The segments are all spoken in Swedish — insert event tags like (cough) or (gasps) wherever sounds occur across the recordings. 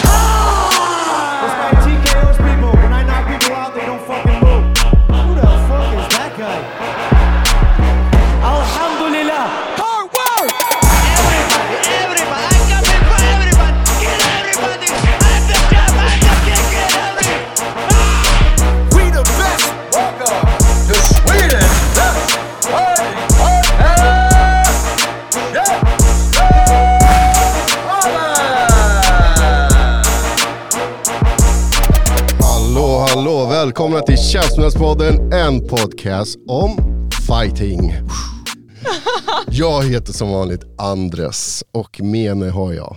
time! Like TKO's people, when I knock people out, they don't fucking move. Who the fuck is that guy? Alhamdulillah. Hard work! We the best. Welcome. The Sweden. Best. Party. Party. Yeah. Holla! Hallå, hallå! Välkomna till Käftsmällspodden, en podcast om fighting. Jag heter som vanligt Andres och med mig har jag...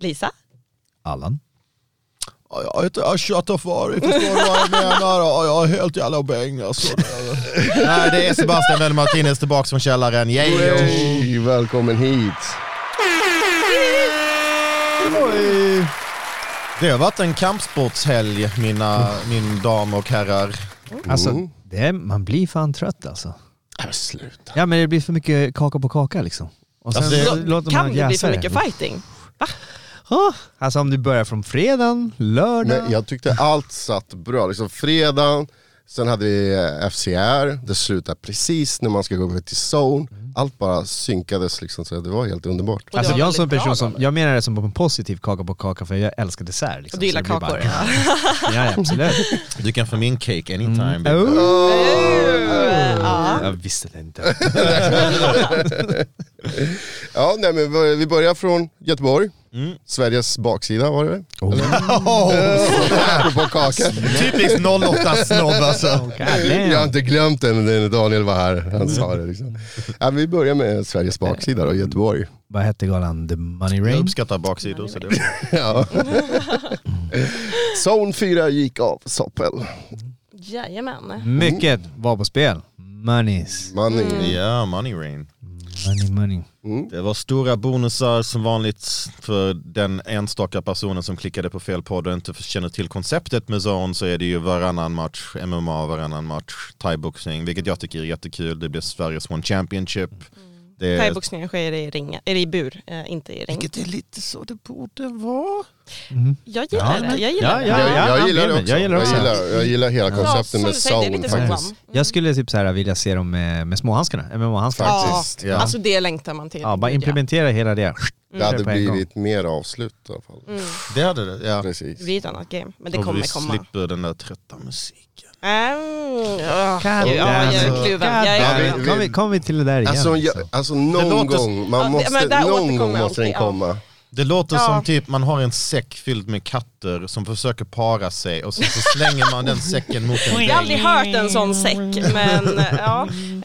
Lisa? Allan. Jag har inte jag tjatar för dig, förstår du vad jag menar? Ja, Jag är helt jävla bäng alltså. Nej, det är Sebastian Welle Martinez tillbaka från källaren. Yay! Hej, välkommen hit! Det har varit en kampsportshelg, mina, min dam och herrar. Mm. Alltså, det är, man blir fan trött alltså. Äh, Sluta. Ja men det blir för mycket kaka på kaka liksom. Och sen Alltså, det- låter man Kan det bli jäsa för mycket fighting? Ah, alltså om du börjar från fredagen, lördag. Men jag tyckte allt satt bra. Liksom fredagen, sen hade vi eh, FCR, det slutade precis när man ska gå över till zone. Allt bara synkades liksom, så det var helt underbart. Och det Alltså var jag som väldigt bra person som, då. jag menar det som en positiv kaka på kaka för jag älskar dessert. Liksom. Och du gillar Så det blir kakor? Bara, (laughs) ja ja, absolut. Du kan få min cake anytime. Oh. baby. Ja. Jag visste det inte. Ja, nej, men vi- vi börjar från Göteborg, Mm. Sveriges baksida var det väl? Oh. (laughs) Apropå kaka. Typiskt 08-snobb (laughs) alltså. Jag har Goddamn. inte glömt det när Daniel var här. Han sa det liksom. ja, vi börjar med Sveriges baksida då, Göteborg. Vad hette galan? The Money Jag Rain? uppskattar baksidor. Så det Ja. Mm. Zone 4 gick av Soppel. Jajamän. Mycket var på spel. Monies. Man Mm. är Ja, money rain. Money money. Det var stora bonusar som vanligt för den enstaka personen som klickade på fel podd och inte känner till konceptet med Zone så är det ju varannan match MMA, varannan match thaiboxning, vilket jag tycker är jättekul. Det blir Sveriges One Championship. Mm. Det är, Thaiboxningen sker i, ringa, eller i bur, eh, inte i ring. vilket är lite så det borde vara. Jag gillar det. Jag gillar Ja, det. ja, jag, jag gillar han vill det det. också. Jag gillar också. Jag, gillar, jag gillar hela konceptet som med du säger, det är zone lite som faktiskt. Jag skulle typ så här vilja se dem med, med småhandskarna, eller med MMA-handskarna. Ja. Faktiskt. Ja. Alltså det längtar man till. Ja, bara implementera hela det. Mm. Det hade på en gång. blivit mer avslut i alla fall. Det hade det, ja. Precis. Det blir ett annat game, men det Och vi kommer komma. slipper den där trötta musiken. Mm, ah, damn. gud, ja, jag är kluven. Jag är damn. kluven. Kom vi, kom vi till det där igen? Alltså, jag, liksom? alltså någon låter- gång, Ja, man det- måste, men där någon återkommer gång jag måste den alltid, ja. komma. Det låter Ja. som typ man har en säck fylld med katter som försöker para sig och sen så slänger man den säcken mot en Jag har aldrig vägg. hört en sån säck, men eh, Ja, ja. Eh, vi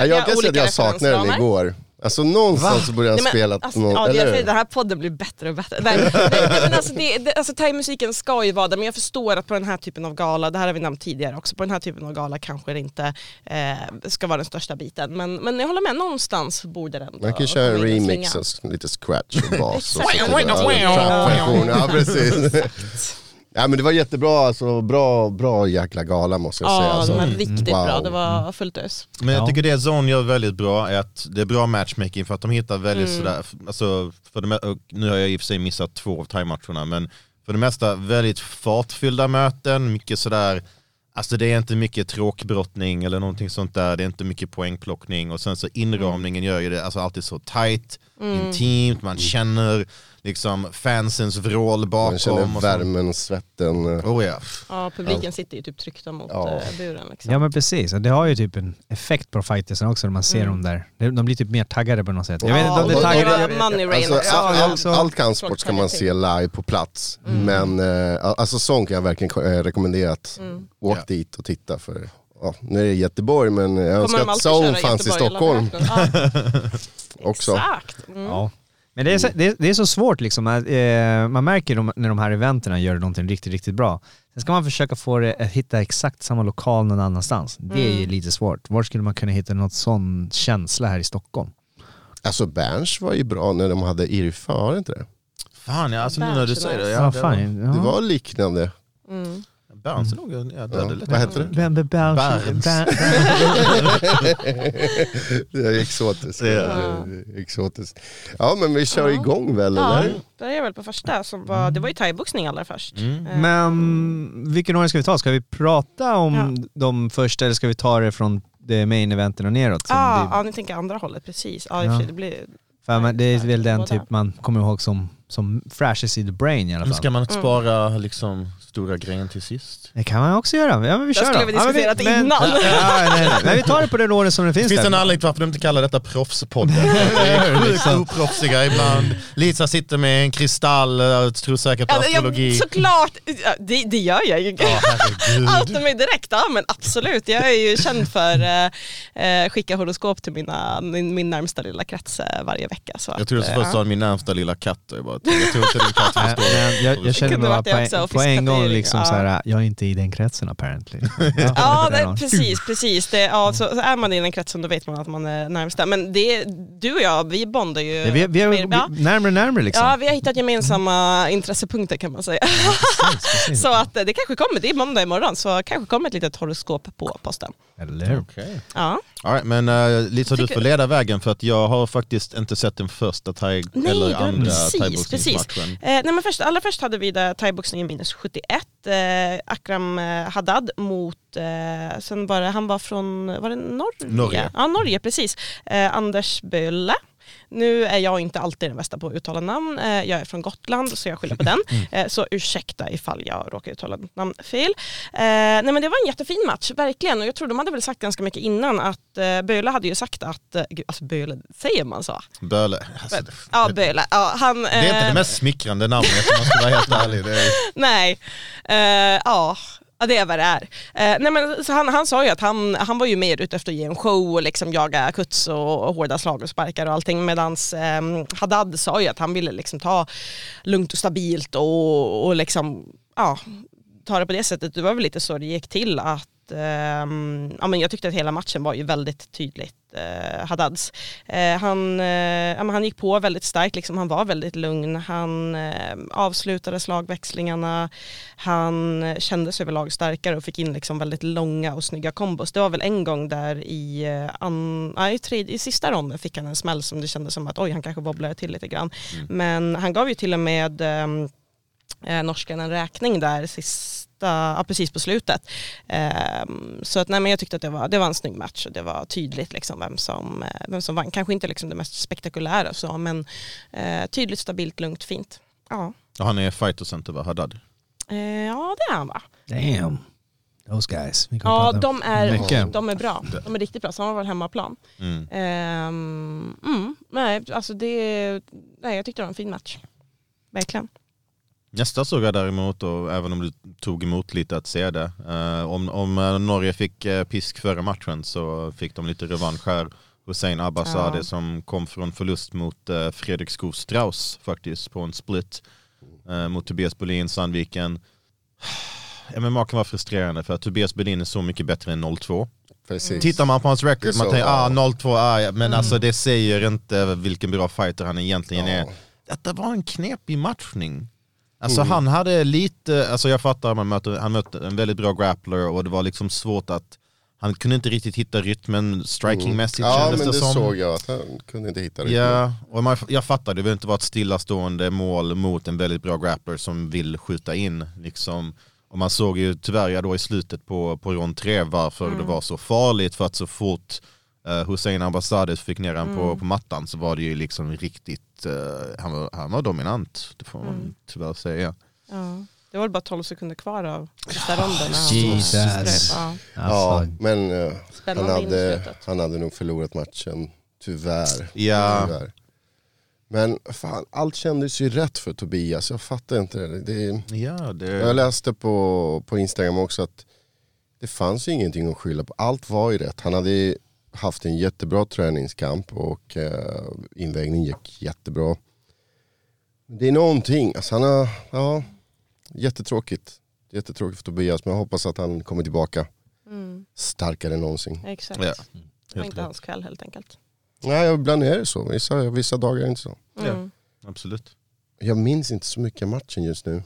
har jag kan säga att olika jag saknade den referensramar. igår. Alltså någonstans borde jag Nej, ha men, spelat alltså, någon, ja, det, eller jag säger, hur? den här podden blir bättre och bättre. Nej, nej, nej, men alltså, det, det, alltså, thaimusiken ska ju vara där, men jag förstår att på den här typen av gala, det här har vi nämnt tidigare också, på den här typen av gala kanske det inte eh, ska vara den största biten. Men, men jag håller med, någonstans borde den Man ta- kan ju köra en komma in och remix, svinga. och lite scratch (laughs) och bas. och så Exakt. till det. Ja, en trap-version. Ja, (laughs) precis. Ja, men det var jättebra, alltså, bra, bra jäkla gala måste jag säga. Ja, Alltså. den var riktigt Wow. Mm. bra, det var fullt ös. Men jag Ja. tycker det Zone gör väldigt bra är att det är bra matchmaking för att de hittar väldigt sådär, f- alltså, för det, me- och nu har jag i och för sig missat två av thaimatcherna men för det mesta väldigt fartfyllda möten, mycket sådär, alltså det är inte mycket tråkbrottning eller någonting sånt där, det är inte mycket poängplockning och sen så inramningen gör ju det alltså alltid så tight, intimt, man känner liksom fansens vrål Man bakom. känner och så- värmen, svetten. eh, Oh ja. Ja, publiken sitter ju typ tryckta mot Ja. eh, buren liksom. Ja men precis, Och det har ju typ en effekt på fightersen också när man ser dem där. De- De blir typ mer taggade på något sätt. Jag vet inte om det Mm. är och- taggade. det var Money Rain Alltså, också. all, ja, allt, alltså. allt kampsport ska man se live på plats, Mm. men eh, alltså sånt kan jag verkligen eh, rekommendera att Mm. åk Ja. dit och titta för. Ja, nu är det Göteborg men jag önskar Kommer de att alltid Zone köra fanns i Göteborg hela Stockholm världen? Ja. också. Exakt. Mm. Ja. Men det är, så, det, är, det är så svårt liksom. Att, eh, man märker de, när de här eventen gör någonting riktigt, riktigt bra. Sen ska man försöka få det att hitta exakt samma lokal någon annanstans. Det är Mm. ju lite svårt. Var skulle man kunna hitta något sån känsla här i Stockholm? Alltså Berns var ju bra när de hade Irfa, var det inte det? Fan ja, alltså nu när du säger det. Ja, Ja, det fan, ja. Det var liknande. Bounce är nog en- ja, det Ja. är lätt. Vad heter det? Vem Berns. (laughs) Det är exotiskt. Ja. Det är exotiskt. Ja men vi kör igång väl Ja, eller? det är jag väl på första som var, det var ju thaiboxning allra först. Eh, Men vilken ordning ska vi ta? Ska vi prata om de första eller ska vi ta det från det main eventen och neråt? som ah, det, ja, ni tänker andra hållet, precis. Ja, i och Ja. för sig, det blir, för man, det är väl den båda. typ man kommer ihåg som, som frashest i the brain i alla Men fall. ska man spara liksom stora grejen till sist? Det kan man också göra. Ja, men vi Det kör skulle då. vi Ja, men diskuterat men, innan. Ja, nej, nej, nej. Men vi tar det på den ordning som det Det finns, finns där. en anledning till varför de inte kallar detta proffspodden. Det är sjukt oproffsiga ibland. Lisa sitter med en kristall, jag tror säkert på ja, det- astrologi. jag, såklart, ja, det, det gör jag ju. Ja, herregud. (laughs) Allt om mig direkt, ja men absolut. Jag är ju känd för eh, eh, skicka horoskop till mina, min, min närmsta lilla krets eh, varje vecka. Så Jag trodde att, så eh, först ja. sa min närmsta lilla katt. och Jag, bara, jag tror inte din katt Nej, förstår. men jag, jag känner Kunde mig bara varit det på, också, en- på en gång fiskatering, liksom ja. så här, jag är inte i den kretsen (laughs) apparently. Ja, Där nej, har han. precis. precis. Det, ja, så, så är man i den kretsen då vet man att man är närmsta. Men det, du och jag, vi bondar ju. Ja, vi, vi är mer- ja. vi- närmare närmare liksom. Mm. Ja, vi har hittat gemensamma intressepunkter kan man säga. precis. (laughs) så att eh, det kanske kommer, det är måndag imorgon, så kanske kommer ett litet horoskop på posten. Eller hur? Okej. Ja. All right, men uh, Lisa du Tycker- får leda vägen för att jag har faktiskt inte sett den första thai Nej, eller det var andra precis, thaiboxningsmatchen. Eh, nej men först, allra först hade vi där thaiboxningen minus 71, eh, Akram eh, Haddad mot, eh, sen var det, han var från, var det Norge? Norge. Ja, Norge, precis. Eh, Anders Bölle. Nu är jag inte alltid den bästa på att uttala namn, eh, jag är från Gotland så jag skyller (laughs) på den. Mm. Eh, så ursäkta ifall jag råkar uttala något namn fel. Eh, nej men det var en jättefin match, verkligen. Och jag tror de hade väl sagt ganska mycket innan att eh, Böle hade ju sagt att, eh, gud, alltså Böle, säger man så? Böle. Alltså, det, Ja, Böle. Ja, han, det är inte eh, det mest smickrande namnet om man ska vara helt ärlig. Det är, Nej, Eh, ja. Ja det är vad det är. Eh, nej men, så han, han sa ju att han, han var ju mer ute efter att ge en show och liksom jaga kuts och, och hårda slag och sparkar och allting medan Haddad sa ju att han ville liksom ta lugnt och stabilt och, och liksom, ja, ta det på det sättet. Det var väl lite så det gick till att ehm, ja, men jag tyckte att hela matchen var ju väldigt tydligt eh, Haddads. Eh, han, eh, ja, men han gick på väldigt starkt, liksom, han var väldigt lugn, han eh, avslutade slagväxlingarna, han kändes överlag starkare och fick in liksom, väldigt långa och snygga kombos. Det var väl en gång där i, eh, an, nej, i, tredje, i sista ronden fick han en smäll som det kändes som att oj, han kanske wobblade till lite grann. Men han gav ju till och med ehm, eh, norskan en räkning där sista, ja, precis på slutet. Ehm, så att, nej, men jag tyckte att det var, det var en snygg match och det var tydligt liksom vem, som, eh, vem som vann. Kanske inte liksom det mest spektakulära och så, men eh, tydligt, stabilt, lugnt, fint. Ja, och han är fightercenter va, Haddad? eh, ja det är han va? Damn. Those guys. Vi kan Ja, prata de är, mycket. de är bra. De är riktigt bra, så han var väl hemmaplan. Mm. Ehm, mm, nej, alltså det, nej, jag tyckte det var en fin match. Verkligen. Nästa såg jag däremot, och även om du tog emot lite att se det, eh, om, om eh, Norge fick eh, pisk före matchen så fick de lite revansch här. Hussein Abbasade Ja. som kom från förlust mot eh, Fredrik Skog Strauss faktiskt på en split eh, mot Tobias Bolin, Sandviken. (sighs) MMA kan vara frustrerande för att Tobias Bolin är så mycket bättre än 02. Precis. Tittar man på hans Det är record, så, man tänker ja. ah, 0-2, ah, ja, men alltså det säger inte vilken bra fighter han egentligen Ja. är. Detta var en knepig matchning. Alltså Mm. han hade lite, alltså jag fattar, att man möter, han mötte en väldigt bra grappler och det var liksom svårt att, han kunde inte riktigt hitta rytmen strikingmässigt Mm. Ja kändes men det det som. såg jag att han kunde inte hitta det. Ja, och man, jag fattar, det vill inte vara ett stillastående mål mot en väldigt bra grappler som vill skjuta in. Liksom. Och man såg ju tyvärr ja, då i slutet på, på rond 3 varför Mm. det var så farligt, för att så fort eh, Hussein Abbasades fick ner han Mm. på, på mattan så var det ju liksom riktigt, eh, han, var, han var dominant, det får man Mm. tyvärr säga. Ja. Det var väl bara 12 sekunder kvar av sista ronden. när han- Jesus. Ja. Ja, Alltså, men eh, han, Spännande in i hade, slutet. han hade nog förlorat matchen, tyvärr. Ja. tyvärr. Men fan, allt kändes ju rätt för Tobias, jag fattar inte det. det är, Ja, jag det, läste på, på Instagram också att det fanns ju ingenting att skylla på, allt var ju rätt. Han hade ju haft en jättebra träningskamp och eh, invägningen gick jättebra. Det är någonting, alltså han har, ja, jättetråkigt. Jättetråkigt för Tobias men jag hoppas att han kommer tillbaka Mm, starkare än någonsin. exakt. ja, Det var helt inte rätt. hans kväll helt enkelt. Nej, ibland är det så. Vissa, vissa dagar är det inte så. Mm. Absolut. Jag minns inte så mycket av matchen just nu.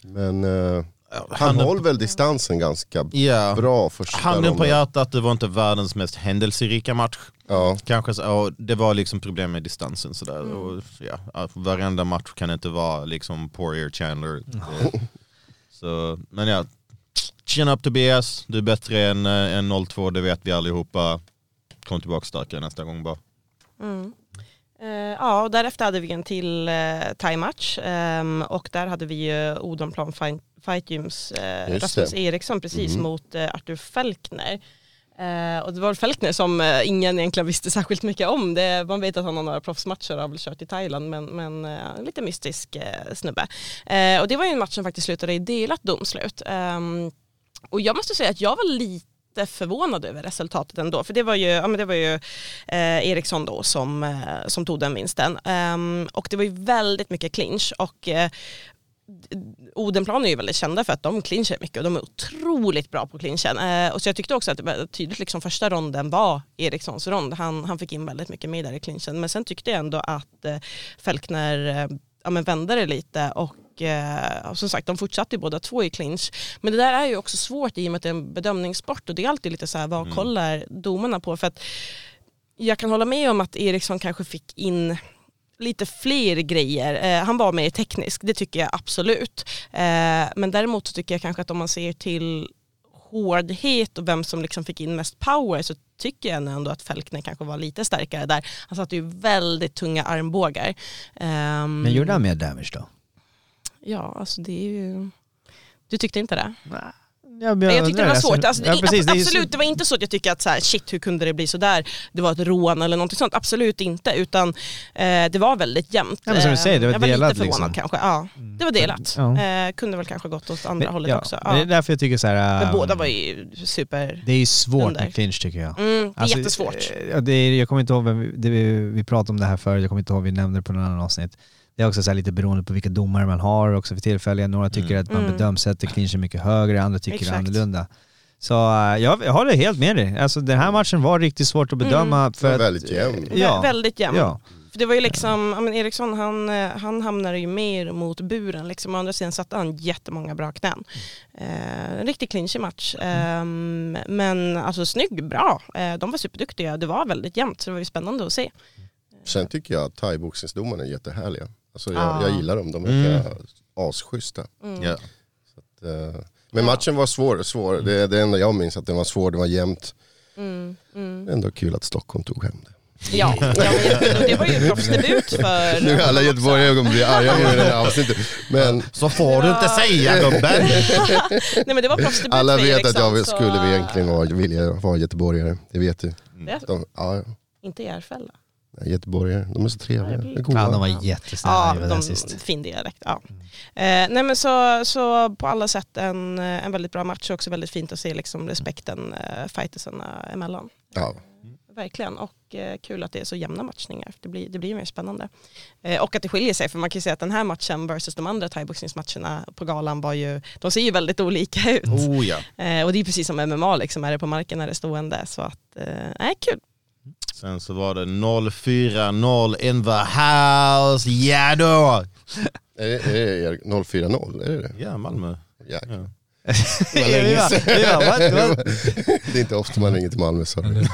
Men eh, Han höll väl distansen ganska Ja. bra första Handen på ronden. hjärtat, det var inte världens mest händelserika match. Ja. Kanske så, och det var liksom problem med distansen sådär. Och, ja, att varenda match kan inte vara liksom Poirier Chandler. Det- så, men ja, chin up Tobias, du är bättre än, eh, än 0-2, det vet vi allihopa. Kom tillbaka starkare nästa gång bara. Mm. Eh, ja, och därefter hade vi en till uh, thai-match ehm, och där hade vi ju Odenplan Fight, Fight Gyms eh, Just Rasmus det. Eriksson precis Mm. mot eh, Arthur Fälkner. Eh, och det var Fälkner som eh, ingen egentligen visste särskilt mycket om. Det, man vet att han har några proffsmatcher och har väl kört i Thailand men, men eh, lite mystisk eh, snubbe. Eh, och det var ju en match som faktiskt slutade i delat domslut. Ehm, och jag måste säga att jag var lite förvånad över resultatet ändå. För det var ju, ja, men det var ju eh, Eriksson då som, eh, som tog den vinsten. Ehm, och det var ju väldigt mycket clinch och eh, d- Odenplan är ju väldigt kända för att de clinchar mycket och de är otroligt bra på clinchen. Eh, och så jag tyckte också att det var tydligt liksom första ronden var Erikssons rond. Han, han fick in väldigt mycket mer där i clinchen. Men sen tyckte jag ändå att eh, Fälkner eh, ja, men vände det lite och eh, och som sagt de fortsatte ju båda två i clinch. Men det där är ju också svårt i och med att det är en bedömningssport och det är alltid lite så här vad kollar domarna på? För att jag kan hålla med om att Eriksson kanske fick in lite fler grejer. Eh, han var mer teknisk, det tycker jag absolut. Eh, men däremot så tycker jag kanske att om man ser till hårdhet och vem som liksom fick in mest power så tycker jag ändå att Fälkner kanske var lite starkare där. Han satte ju väldigt tunga armbågar. Ehm, Men gjorde han mer damage då? Ja, alltså det är ju... Du tyckte inte det? Ja, men Nej, jag tyckte det var svårt. Alltså, det, ja, precis, det är ju- absolut, det var inte så att jag tyckte att så här, shit hur kunde det bli sådär, det var ett rån eller någonting sånt. Absolut inte, utan eh, det var väldigt jämnt. Eh, Ja, men som du säger, det var jag var delat, lite förvånad liksom. kanske. Ja, det var delat. Ja. Eh, kunde väl kanske gått åt andra Men- hållet ja, också. men Det Ja. är därför jag tycker så här. Men äh, båda var ju super... Det är ju svårt Under. med clinch tycker jag. Mm, det är Alltså, jättesvårt. eh, ja, det är, jag kommer inte ihåg, vem vi, det, vi- vi pratade om det här förut, jag kommer inte ihåg, vi nämnde det på någon annan avsnitt. Det är också så här lite beroende på vilka domare man har också för tillfället. Några tycker att man Mm. bedömsätter clinchen mycket högre, andra tycker det är Exakt. annorlunda. Så eh, jag håller helt med dig. Alltså den Mm. här matchen var riktigt svårt att bedöma. För Det att, var väldigt jämnt. Eh, ja. Vä- Mm. Väldigt jämnt. Ja. För det var ju liksom, ja, men Eriksson han, eh, han hamnade ju mer mot buren. Liksom. Å andra sidan satte han jättemånga bra knän. Eh, en riktig clinchig match. Ehm, men alltså snygg, bra. Eh, de var superduktiga. Det var väldigt jämnt så det var ju spännande att se. Sen tycker jag att thaiboxningsdomarna är jättehärliga. Alltså jag, Ah. jag gillar dem, de Mm. verkar asschyssta. Mm. Ja. Eh, Men matchen var svår, svår. Det är det enda jag minns att den var svår, det var jämnt. Mm, mm. Det är Ändå kul att Stockholm tog hem det. Ja, ja men det var ju proffsdebut (laughs) för... Nu är alla göteborgare kommer bli arga nu i det här avsnittet. Men Så får du inte säga gubben! Nej men det var proffsdebut alla för vet att Eriksson, jag så- skulle egentligen vara, vilja vara göteborgare, det vet du. Det, De, ja, inte i Järfälla. göteborgare, de är så trevliga. De är Ja, goa. de var Ja. jättesnälla Ja, i det där de, sist. fin dialekt. Ja. Eh, nej men så, så på alla sätt en, eh, en väldigt bra match och också väldigt fint att se liksom respekten eh, fightersarna emellan. Ja. Verkligen, och eh, kul att det är så jämna matchningar. Det blir, det blir mer spännande. Eh, och att det skiljer sig, för man kan ju säga att den här matchen versus de andra thaiboxningsmatcherna på galan var ju, de ser ju väldigt olika ut. Oh ja. Eh, och det är precis som MMA, liksom, är det på marken är det stående. Så att, eh, nej, kul. Sen så var det 0-4-0 in the house, ja då! Är det, är det 040? Är det det? Ja, Malmö. Jäklar. Ja. Det var länge sedan. Vi bara, what, what? Det är inte ofta man ringer till Malmö, sorry.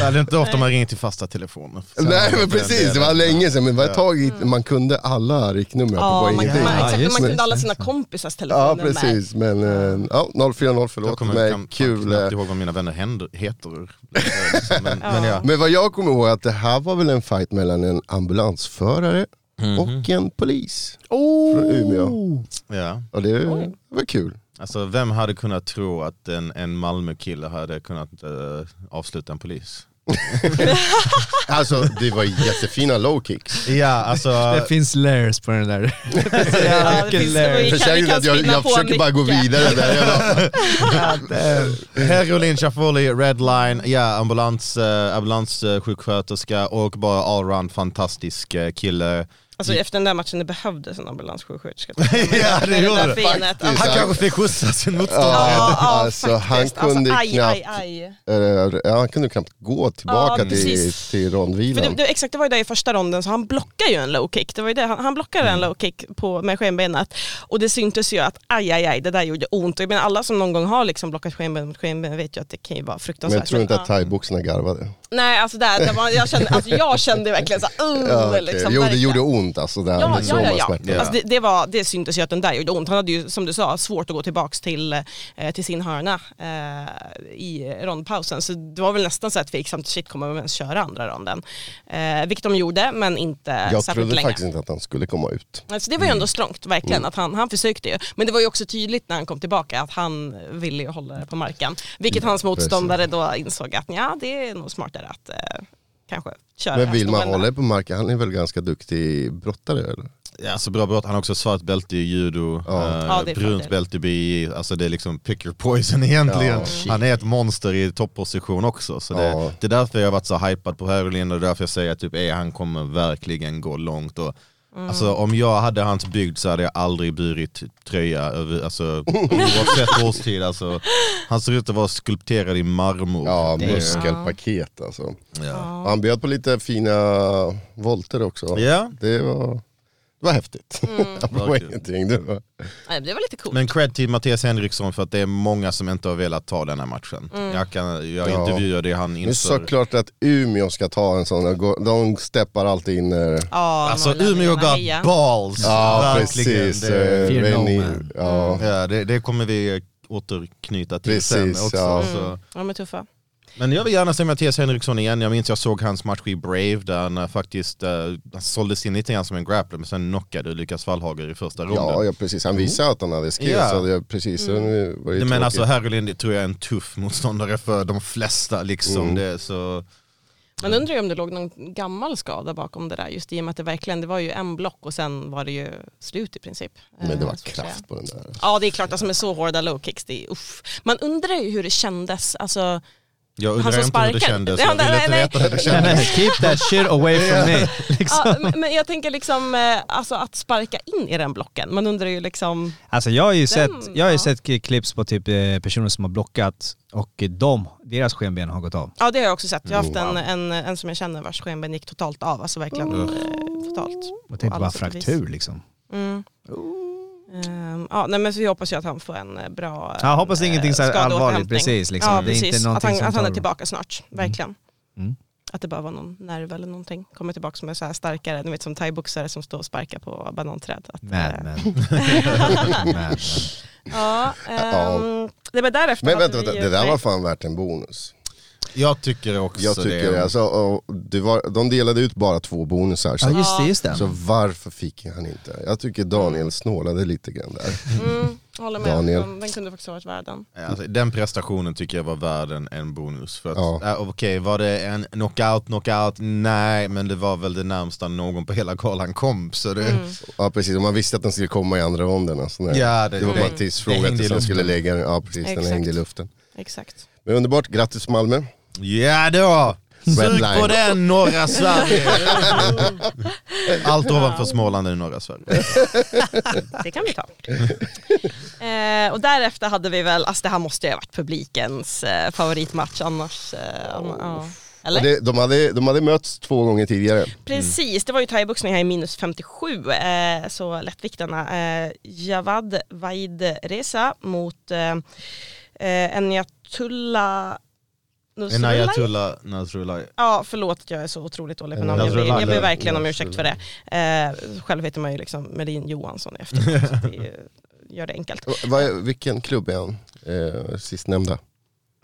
Ja, Det är inte ofta man ringer till fasta telefoner. Nej men precis, det var länge sedan. Men det var ett tag i- man kunde alla riktnummer. Ja, apropå man, man, ingenting. exakt, just man det. kunde alla sina kompisars telefoner Ja med. precis, men eh, ja, 040 Jag förlåt kommer mig, knappt- kul. eh. knappt ihåg vad mina vänner händer, heter. Liksom, Men, men ja. Men vad jag kommer ihåg är att det här var väl en fight mellan en ambulansförare Mm-hmm. Mhm. och en polis Oh! från Umeå. ja. Och det var kul. Alltså, vem hade kunnat tro att en, en Malmö-kille hade kunnat eh, avsluta en polis? Alltså det var jättefina low kicks. Ja, (laughs) alltså... Det finns layers på den där. Ja, det finns- Killer. vi kan- vi Försäkring kan att jag, spinna jag på försöker bara gå mycket. (laughs) vidare där. (laughs) Jag bara, Herolin Schaffouli, Redline, ja, ambulans, eh, ambulanssjuksköterska och bara allround fantastisk eh, kille. Alltså efter den där matchen, det behövdes (laughs) en ambulanssjuksköterska. ja, Ja, det gjorde det. Finet. Alltså, Han kanske fick skjutsa sin motståndare. ja, ja, Alltså, faktiskt. han kunde alltså, aj, knappt- aj, aj. Eh, Ja, han kunde knappt gå tillbaka till, Ja, precis. till För det, rondvilan. det, exakt, det var ju det i första ronden, så han blockade ju en low kick. Det var ju det, han, han blockade Mm. en low kick på, med skenbenet och det syntes ju att aj, aj, aj, det där gjorde ont. Och jag menar, alla som någon gång har liksom blockat skenben mot skenben vet ju att det kan ju vara fruktansvärt. Men jag tror inte Ja. att thaiboxarna garvade. Nej, alltså, där, där var, jag, kände, alltså jag kände verkligen så här, uh, Ja, okej. liksom, jo, det verkligen. gjorde ont alltså. Där, Ja, med ja, ja, sådana ja. smärtor. Alltså det, det, var, det syntes ju att den där gjorde ont. Han hade ju som du sa svårt att gå tillbaka till, eh, till sin hörna eh, i rondpausen. Så det var väl nästan så här tveksamt, shit kommer de ens köra andra ronden? Eh, vilket de gjorde, men inte Jag särskilt trodde länge. faktiskt Mm. inte att han skulle komma ut. Alltså det var ju ändå strongt verkligen att han, han försökte ju. Men det var ju också tydligt när han kom tillbaka att han ville ju hålla det på marken. Vilket hans motståndare då insåg att ja, det är nog smartare att eh, kanske köra Men vill man hästarna. hålla på marken, han är väl ganska duktig brottare eller? Ja, alltså bra brott. Han har också svart bälte i judo, eh, Ja, det är brunt fördel. bälte i BJJ. Alltså det är liksom pick your poison (laughs) egentligen. Ja, shit. han är ett monster i topposition också. Så det, Ja. det är därför jag har varit så hypad på Herolin och det är därför jag säger att typ, eh, han kommer verkligen gå långt. Och, Mm. Alltså om jag hade hans bygd så hade jag aldrig burit tröja, (laughs) över, alltså, oavsett årstid. Alltså, han ser ut att vara skulpterad i marmor. Ja, Det- muskelpaket alltså. ja. Och Han bjöd på lite fina volter också. Ja, Det, var, det var häftigt. Mm. (laughs) det var Verkligen. ingenting. Det var, Nej, det var lite coolt. Men cred till Mattias Henriksson för att det är många som inte har velat ta den här matchen. Mm. Jag, kan, jag Ja. intervjuade han det är inför. såklart att Umeå ska ta en sån. De steppar alltid in när... Ja, Alltså norrlänningarna, Umeå got heja. balls! Ja, Verkligen. precis. Det, Eh, Fear men no ni- man. ja. ja, det, det kommer vi återknyta till sen Precis, också. ja. Så. De är Mm. tuffa. Men jag vill gärna se Mattias Henriksson igen. Jag minns jag såg hans match i Brave där han eh, faktiskt uh, såldes in lite grann som en grappler men sen knockade Lukas Wallhager i första Ja, ronden. ja, precis. Han visade att han hade skills. Ja. Så det, precis. Mm. Var det men tråkigt. alltså Herrelin tror jag är en tuff motståndare för de flesta liksom. Mm. Det, så, Man undrar ju om det låg någon gammal skada bakom det där just i och med att det verkligen det var ju en block och sen var det ju slut i princip. men det Eh, var så att säga. kraft på den där. Ja det är klart, alltså med så hårda low kicks, det är, uff. Man undrar ju hur det kändes, alltså jag han undrar som inte hur det sparkar. kändes. (laughs) Ja, Jag vill nej, inte nej. veta hur det Nej, kändes. men (laughs) keep that shit away from me. Liksom. ja, men jag tänker liksom eh, alltså att sparka in i den blocken, man undrar ju liksom Alltså jag har ju sett, jag har ju ja. sett k- clips på typ eh, personer som har blockat och de, deras skenben har gått av. Ja det har jag också sett, jag har haft en, en, en som jag känner vars skenben gick totalt av, alltså verkligen eh, totalt. Jag tänkte alla bara sätt och vis. fraktur liksom. Mm. Ehm, ja, nej, men så vi hoppas ju att han får en eh, bra Ja, hoppas det är eh, ingenting så här skadeåterhämtning. allvarligt, precis, liksom. Ja, Det är inte precis. att, någonting han, som att han är tar- tillbaka snart, verkligen. Mm. Att det bara var någon nerv eller någonting. Kommer tillbaka som är så här starkare, ni vet som thaiboxare som står och sparkar på bananträd. Att, eh, Mad (laughs) men. Mad men. ja, Ja. ehm, det var därefter. Men hade vänta, vi vänta, ju- det där nej. var fan värt en bonus. Jag tycker också Jag tycker det. det. Alltså, och det var, de delade ut bara två bonusar. Så, Ja just det, just det. så varför fick han inte? Jag tycker Daniel snålade lite grann där. Mm, håller med, Daniel. Den, den kunde faktiskt ha varit värd den. Alltså, den prestationen tycker jag var värd en, en bonus. För att, Ja. äh, Okej, var det en knockout, knockout? Nej, men det var väl det närmsta någon på hela galan kom. Så det, Mm. Ja precis, och man visste att den skulle komma i andra ronden. Alltså, när- Ja, det- det var bara det- det tidsfråga hängde i tills han skulle luften. lägga den. Ja precis, den Exakt. hängde i luften. Exakt. Men underbart, grattis Malmö. Ja då! Sug line. på den norra (laughs) Sverige! Allt ovanför Småland är i norra Sverige. Det kan vi ta. (laughs) eh, och därefter hade vi väl, alltså det här måste ju ha varit publikens eh, favoritmatch annars. Eh, anna- ja. Mm. Eller? Och Det, de, hade, de hade mötts två gånger tidigare. Precis, det var ju thaiboxning här i minus 57, eh, så lättviktarna. Eh, Javad Vaid Reza mot eh, eh, Enayatullah (laughs) Nusrullah. Enayatullah Nasrullah. Ja, förlåt att jag är så otroligt dålig på namn. Jag ber, Nasrullah. jag ber verkligen om ursäkt för det. Eh, själv heter man ju liksom Melin Johansson i efternamn, så att det är ju- gör det enkelt. Och Vad, är- vilken klubb är han? Eh, sistnämnda.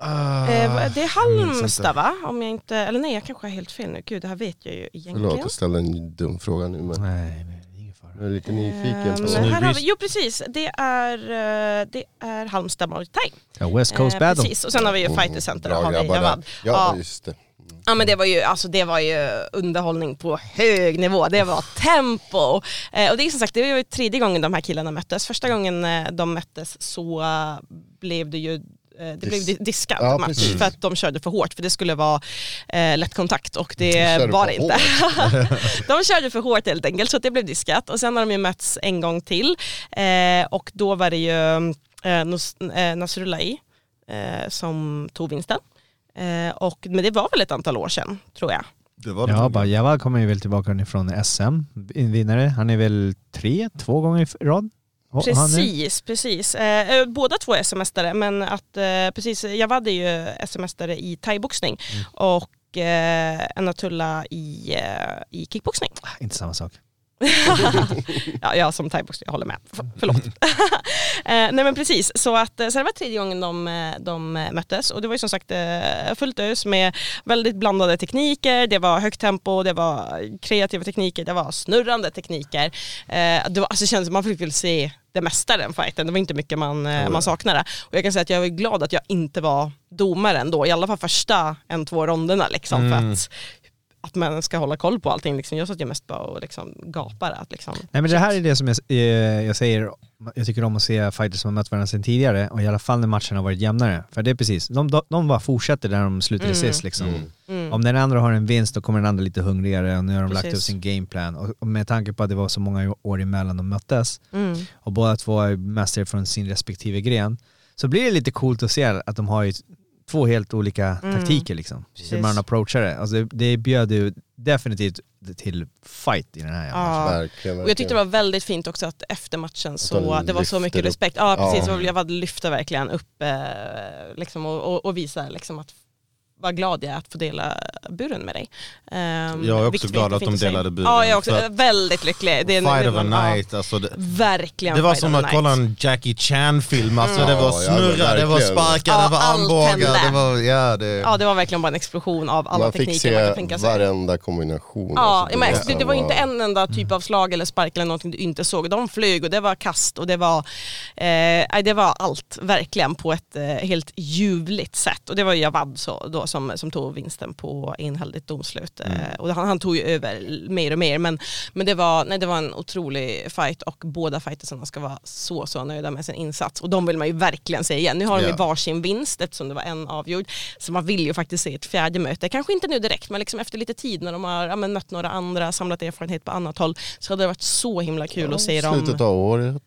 Ah, Eh, vad- det är minns Halmstad inte. va? Om jag inte, eller nej jag kanske har helt fel nu, gud det här vet jag ju Förlåt, egentligen. jag ställde en dum fråga nu men Nej, men det är ingen fara. jag är lite nyfiken. Ehm, På. Snygg här har risk. vi, jo precis, det är, eh, det är Halmstad Muay Thai. Ja, West Coast Eh, Battle. Precis, och sen har vi ju Fighter Center. Bra har vi grabbar Javad. där. Ja. Oh, Ja, just det. Ja men det var ju, alltså, det var ju underhållning på hög nivå, det var tempo. Eh, och det är som sagt, det var ju tredje gången de här killarna möttes. Första gången eh, de möttes så eh, blev det ju eh, det Dis- blev di- diskad Ja, match precis. för att de körde för hårt för det skulle vara eh, lätt kontakt och De det körde var för det inte. (laughs) de körde för hårt helt enkelt så att det blev diskat och sen har de ju mötts en gång till eh, och då var det ju eh, Nos- eh, Nasrullahi eh, som tog vinsten. Eh, och, men det var väl ett antal år sedan tror jag. Det var det. Ja, bara Jawad kommer ju väl tillbaka från SM, vinnare. Han är väl tre, två gånger i rad? Och han är- Precis, precis. Eh, eh, båda två är sms-are men att eh, precis, Javad är ju sms-are i thaiboxning Mm. och eh, Anatulla i, eh, i kickboxning. Ah, Inte samma sak. Ja, jag som thaiboxare, jag håller med. F- förlåt. eh, nej men precis, så att eh, så det var tredje gången de, eh, de eh, möttes och det var ju som sagt eh, fullt ös med väldigt blandade tekniker, det var högt tempo, det var kreativa tekniker, det var snurrande tekniker. Eh, det var, alltså det kändes som man fick väl se det mesta i den fighten, det var inte mycket man, eh, man saknade. Och jag kan säga att jag är glad att jag inte var domaren då, i alla fall första en, två ronderna liksom Mm. för att att man ska hålla koll på allting. Liksom. Jag satt ju mest bara och liksom gapade. Att liksom, Nej men det här är det som jag, eh, jag säger, jag tycker om att se fighters som har mött varandra sedan tidigare och i alla fall när matcherna har varit jämnare. För det är precis, de, de bara fortsätter där de slutade Mm. sist liksom. Om den andra har en vinst då kommer den andra lite hungrigare och nu har de lagt Precis. upp sin gameplan. Och, och med tanke på att det var så många år emellan de möttes Mm. och båda två är mästare från sin respektive gren så blir det lite coolt att se att de har ju två helt olika taktiker liksom. Hur Mm. Precis. man approachar det. Alltså det, det bjöd ju definitivt till fight i den här jävla Ja. Verkligen, Och jag tyckte det var väldigt fint också att efter matchen så, de det var så lyfter mycket upp. respekt. Ja Ja. precis, och jag var lyfta verkligen upp eh, liksom, och, och, och visa liksom att vad glad jag är att få dela buren med dig. Ehm, Jag är också vilket glad jättefint att de säga. delade buren, Ja, jag är också för att- väldigt lycklig. Det är en- Fight det of a var- ja, night, alltså det, Verkligen det var fight som of att the kolla night. en Jackie Chan-film, alltså det var Ja, ja, men snurra, det var verkligen. sparkar, Ja, det var allt hände. armbågar, det var, ja det... Ja det var verkligen bara en explosion av alla man fick tekniker se man kan tänka sig. varenda kombination. Ja, alltså, ja, men det, det var var- inte en enda typ av slag eller spark eller någonting du inte såg. De flög och det var kast och det var, eh, nej, det var allt verkligen på ett eh, helt ljuvligt sätt. Och det var ju Javad så, då, som, som tog vinsten på enhälligt domslut. Eh, och han, han tog ju över mer och mer men, men det, var, nej, det var en otrolig fight och båda fightersarna ska vara så så nöjda med sin insats. Och de vill man ju verkligen se igen. Nu har de ju Ja. varsin vinst eftersom det var en avgjord. Så man vill ju faktiskt se ett fjärde möte. Kanske inte nu direkt men liksom efter lite tid när de har ja, men mött några andra, samlat erfarenhet på annat håll så hade det varit så himla kul att se dem. Slutet av året,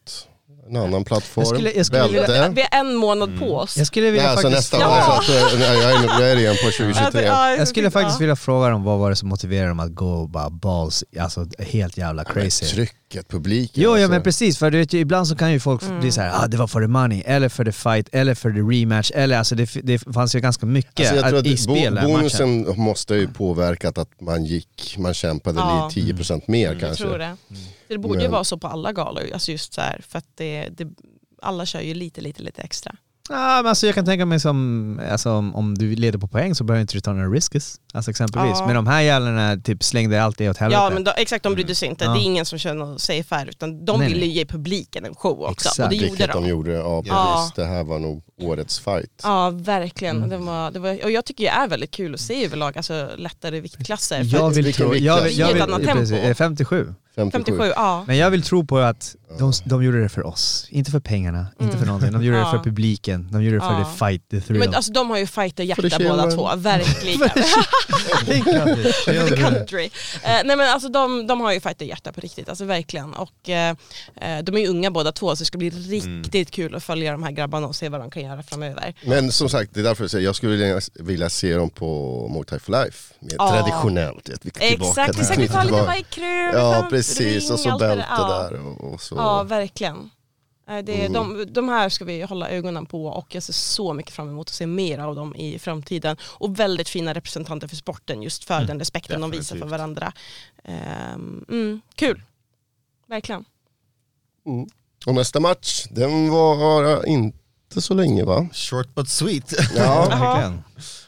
en annan plattform, Jag skulle- jag skulle vilja- bälte. Vi har en månad på oss. Jag skulle vilja Nej, alltså faktiskt... nästa år. Alltså, att, nej, jag, är, inne- jag är igen på 2023. (laughs) Ja, Jag skulle ja. faktiskt vilja fråga dem vad var det som motiverade dem att gå bara balls, alltså helt jävla crazy. Trycket, publiken. Jo, ja alltså. men precis, för du vet ju, ibland så kan ju folk Mm. bli så här, ah, det var för the money, eller för the fight, eller för the rematch, eller alltså det, det fanns ju ganska mycket Alltså jag tror att, i att bo- spel den här matchen. bonusen måste ha ju påverkat att man gick, man kämpade Ja. Mm, lite 10% mer Jag kanske. tror det. Mm. Det borde ju Men- vara så på alla galor, alltså just så här, för att det, det, alla kör ju lite, lite, lite extra. Ja, men alltså jag kan tänka mig som, alltså, om, om du leder på poäng så behöver inte du ta några risks, alltså exempelvis. Ja. Men de här jävlarna typ slängde allt det åt helvete. Ja men då, exakt, de brydde sig inte. Ja. Det är ingen som kör något safe här utan de Nej, ville nej. ju ge publiken en show också. Exakt. Och det gjorde Vilket de. de gjorde, ja Ja. precis. Det här var nog årets fight. Ja verkligen. Mm. Det var, det var, och jag tycker det är väldigt kul att se överlag, alltså lättare viktklasser. För jag att- vill Vilken tro, vikt jag, alltså. vill- jag I ett vill, annat tempo. precis, eh, 57. 57. 57, ja. Men jag vill tro på att de, de gjorde det för oss, inte för pengarna, inte för någonting. De gjorde det Mm. Ja. för publiken, de gjorde det för Ja. the fight, the thrill. (laughs) Men alltså de har ju För fighterhjärta det tjänar båda de. två, (laughs) verkligen. Tänk att det- the country. Eh, nej men alltså de, de har ju fighter hjärta på riktigt, alltså verkligen. Och eh, eh, de är ju unga båda två så det ska bli riktigt Mm. kul att följa de här grabbarna och se vad de kan göra framöver. Men som sagt, det är därför jag säger jag skulle vilja, vilja se dem på Muay Thai for Life. Mer Ja. traditionellt. Vet, vi går tillbaka Exakt, till- vi ska ta lite tillbaka. vargkrön, Ja precis, och så bälte ja. där och, och så. mm. Ja, verkligen. Eh, Det är Mm. de, de här ska vi hålla ögonen på och jag ser så mycket fram emot att se mer av dem i framtiden. Och väldigt fina representanter för sporten just för den respekten de visar för Mm. definitivt. varandra. Ehm, mm, kul, verkligen. Och nästa match, den var inte så länge (laughs) va? Short but sweet. (laughs) Ja, Verkligen.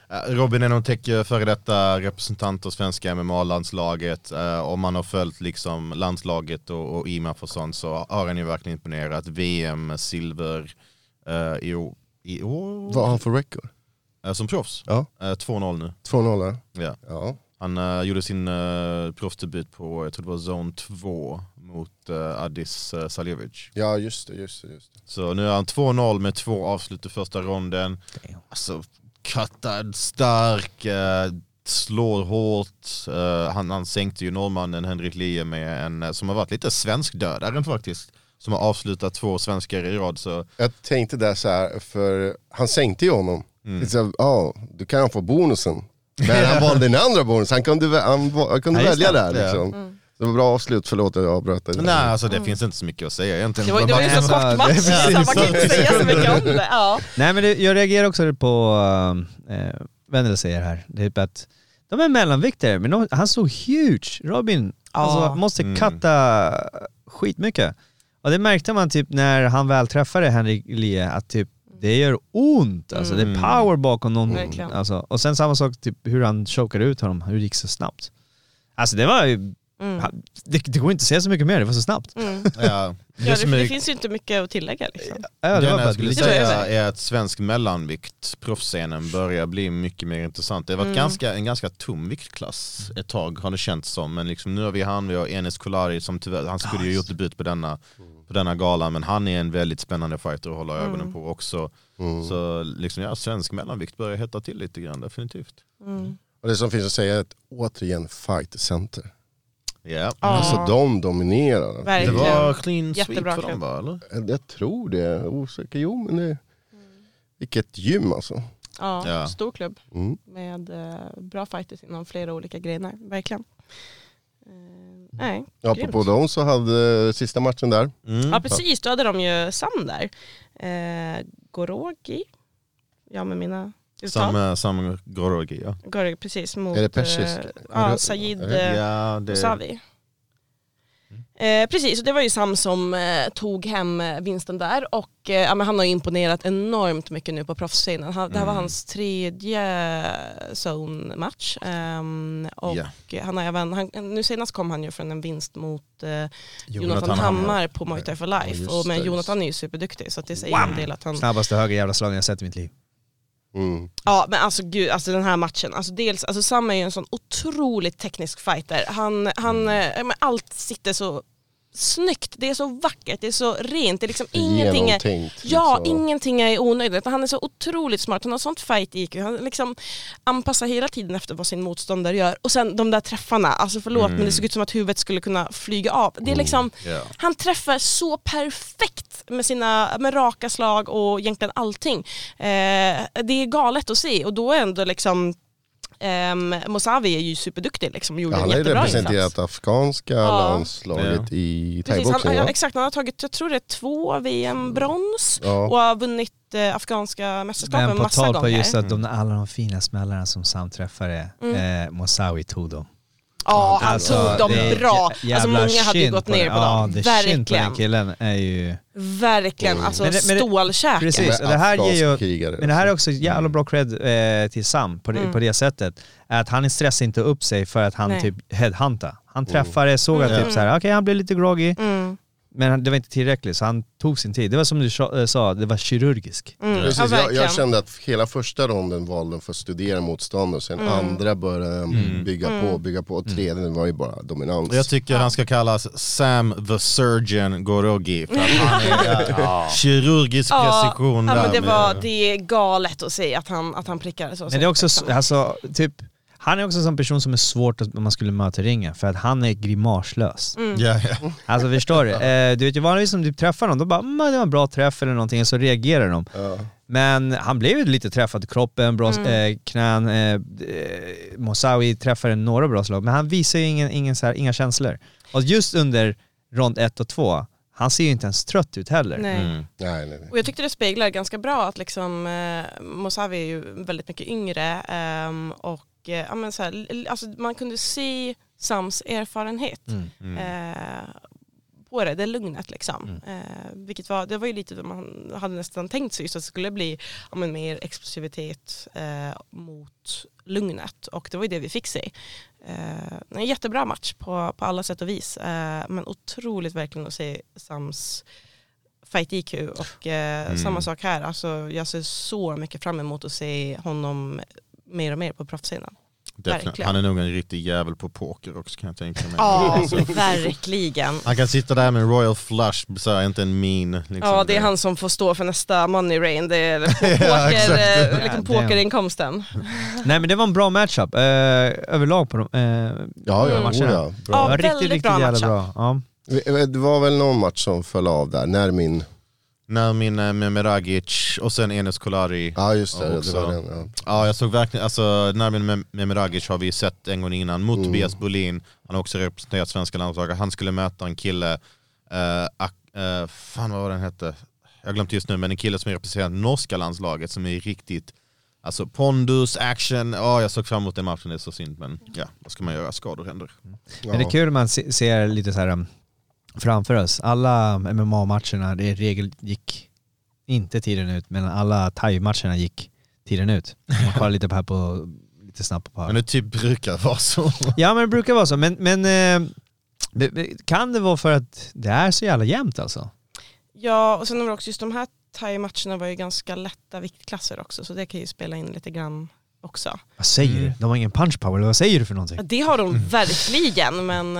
Eh, Robin Enontec är före detta representant för svenska MMA-landslaget. Eh, Om man har följt liksom landslaget och, och IMAF och sånt så har han ju verkligen imponerat. VM-silver eh, i år. I år? vad har han för record? Eh, Som proffs. Ja. Eh, 2-0 nu. 2-0 Ja. ja. Han eh, gjorde sin eh, proffsdebut på, jag tror det var zon 2 mot mot eh, Addis eh, Saljevic. Ja just det, just det. Just det. Så nu är han 2-0 med två avslut i första ronden. Damn. Alltså, kattad, stark, eh, slår hårt. Eh, han, han sänkte ju norrmannen Henrik Lie med en eh, som har varit lite svensk dödaren faktiskt. Som har avslutat två svenskar i rad. Så Jag tänkte där så här, för han sänkte ju honom. Mm. Det är så här, Ja, då kan han få bonusen. Men (laughs) han valde den andra bonusen, han kunde, vä- han, va- han kunde Ja, just välja det. där liksom. Det var bra avslut, förlåt att jag avbröt dig. Nej, alltså det finns inte så mycket att säga egentligen. Mm. Det var, det var ju Mm. så Ja, kort det- match, så man kan inte säga så mycket om det. Ja. Nej men det, jag reagerar också på, eh, Wendel säger här, det är typ att de är mellanviktare, men de, han såg huge, Robin, Ja. alltså måste Mm. katta skitmycket. Och det märkte man typ när han väl träffade Henrik Lie, att typ det gör ont, alltså det Mm. är power bakom någon. Verkligen. Alltså, och sen samma sak, typ hur han chokade ut honom, hur det gick så snabbt. Alltså det var ju, Mm. han- det, det går inte att säga så mycket mer, det var så snabbt. Ja, det, Ja, som det, är, det finns ju inte mycket att tillägga. Liksom. Ja, det det var enda bara jag skulle Det var säga jag är att svensk mellanvikt, proffsscenen, börjar bli mycket mer intressant. Det har varit Mm. ganska, en ganska tom viktklass ett tag har det känts som, men liksom, nu har vi han, vi har Enes Kolari som tyvärr, han skulle ju gjort debut på denna, på denna gala, men han är en väldigt spännande fighter att hålla Mm. ögonen på också. Mm. Så liksom, ja, svensk mellanvikt börjar hetta till lite grann, definitivt. Mm. Och det som finns att säga är att återigen fight center. Ja. Alltså de dominerar. Det Verkligen. var clean Jättebra sweep för dem klubb. va? Eller? Jag tror det, jag är osäker. Jo men det... Vilket gym alltså. Ja, Ja. Stor klubb Mm. med eh, bra fighters inom flera olika grenar. Verkligen. Eh, nej, Apropå dem så hade sista matchen där, Mm. Ja precis, då hade de ju Sam där. Eh, Gorogi, ja med mina uttal. Sam, eh, Sam Gorogi ja. Gorogi, precis mot Är det persisk? eh, ja, Sajid Är Mm. eh, ja det, Musavi. Eh, precis, och det var ju Sam som eh, tog hem eh, vinsten där och eh, ja, men han har ju imponerat enormt mycket nu på proffsscenen. Han, Det här var Mm. hans tredje zone-match. ehm, och Ja. han har även, han, nu senast kom han ju från en vinst mot eh, Jonathan, Jonathan Hammar, Hammar. på Muay Thai for Life. just och, men det, just Jonathan är ju superduktig så att det säger en del att han... Snabbaste höger jävla slagen jag sett i mitt liv. Mm. Ja men alltså gud, alltså den här matchen, alltså dels, alltså Sam är ju en sån otroligt teknisk fighter. Han, han, Mm. eh, men allt sitter så snyggt, det är så vackert, det är så rent, det är liksom ingenting är, Genomtänkt, Ja, liksom. ingenting är i onödan. utan Han är så otroligt smart, han har sånt fight IQ, han liksom anpassar hela tiden efter vad sin motståndare gör. Och sen de där träffarna, alltså förlåt men Mm. det såg ut som att huvudet skulle kunna flyga av. Det är Oh. liksom, ja. han träffar så perfekt med sina med raka slag och egentligen allting. Eh, det är galet att se och då är ändå liksom Um, Mosavi är ju superduktig liksom, gjorde Ja, han en har ju jättebra representerat insats. det afghanska landslaget i Precis, han, thaiboxning. ja, va? exakt, han har tagit, jag tror det är två VM-brons Ja. och har vunnit eh, afghanska mästerskapen Men på massa tal gånger. på just att de, alla de fina smällarna som Sam träffade, Mm. eh, Mosawi tog dem. Ja, han Alltså, tog dem det är bra. jä- Alltså jävla många hade ju skinn gått ner den. på Ja, dem. det skinn på den Verkligen. killen är ju... Verkligen. Alltså Men det- men det- stålkäke. Precis, Med och det här ger afghansk ju... krigare. liksom. Men det här är också jävla bra cred eh, till Sam på det, på det sättet. Att han stressar inte upp sig för att han Mm. Nej. Mm. typ headhuntar. Han träffade, såg att typ så här, okej han blev lite groggy, men han- det var inte tillräckligt så han tog sin tid. Det var som du sa- eh, sa, det var kirurgisk. Precis, Mm. Ja, jag, jag verkligen. kände att hela första ronden valde de för att studera motståndare, sen Mm. andra började de Mm. bygga på, bygga på, och tredje var ju bara dominans. Och Jag tycker han ska kallas Sam the Surgeon Gorogi. För att han är ja, kirurgisk precision ja, där. men det, med- var, det är galet att se att han, att han prickade så. Men det är också, s- alltså, typ, han är också en sån person som är svårt att om man skulle möta i ringen, för att han är grimaslös. Mm. ja, ja. Alltså förstår du? Eh, du vet ju vanligtvis om du träffar någon, då bara mm, det var en bra träff eller någonting, och så reagerar de. Men han blev ju lite träffad i kroppen, bra Mm. eh, knän, eh, eh, Mosawi träffade några bra slag, men han visar ju ingen, ingen så här, inga känslor. Och just under rond ett och två, han ser ju inte ens trött ut heller. Nej. Mm, Nej, nej, nej. Och jag tyckte det speglar ganska bra att liksom, eh, Mosavi är ju väldigt mycket yngre ehm, och eh, ja, men så här, l- l- alltså, man kunde se Sams erfarenhet Mm, eh, på det, det lugnet liksom. Eh, vilket var, det var ju lite vad man hade nästan tänkt sig, just att det skulle bli ja, men mer explosivitet eh, mot lugnet och det var ju det vi fick se. Eh, en jättebra match på, på alla sätt och vis eh, men otroligt verkligen att se Sams Fight IQ och eh, samma sak här. Alltså, jag ser så mycket fram emot att se honom mer och mer på proffsscenen. definitivt. Verkligen. Han är nog en riktig jävel på poker också kan jag tänka mig. Ja, Alltså, verkligen. Han kan sitta där med en royal flush, så här, inte en min. Liksom. Ja, det är han som får stå för nästa money rain. Det (laughs) är (laughs) Ja, poker, exakt. eh, Ja, liksom det är- pokerinkomsten. Nej men det var en bra matchup eh, överlag på de eh, Ja, ja, Mm. oh, ja. Bra. Ja, det var riktigt, väldigt riktigt bra jävla matchup. bra. Ja. Det var väl någon match som föll av där, när min... När min eh, med Meragic och sen Enes Kolari. Ja just det, Ja, det också. var den. Ja. Ja, jag såg verkligen, alltså Nermin Mem- Memeragic har vi sett en gång innan mot Tobias Bolin. Han har också representerat svenska landslaget. Han skulle möta en kille, eh, Ak- eh, fan vad var den hette? Jag har glömt just nu, men en kille som representerar norska landslaget som är riktigt, alltså pondus, action. Ja, jag såg fram emot den matchen, det är så synd, men ja, vad ska man göra? Skador händer. Men det är kul man se- ser lite så här um, framför oss, alla MMA-matcherna, det i regel gick inte tiden ut, men alla thai-matcherna gick tiden ut. Om Man kollar lite på här på, lite snabbt på här. Men det typ brukar vara så. Ja men det brukar vara så, men, men eh, det- det- kan det vara för att det är så jävla jämnt alltså? Ja, och sen var det också just de här thai-matcherna var ju ganska lätta viktklasser också, så det kan ju spela in lite grann också. Vad säger du? De har ingen punch power, eller vad säger du för Ja, någonting? Det har de Mm. verkligen, men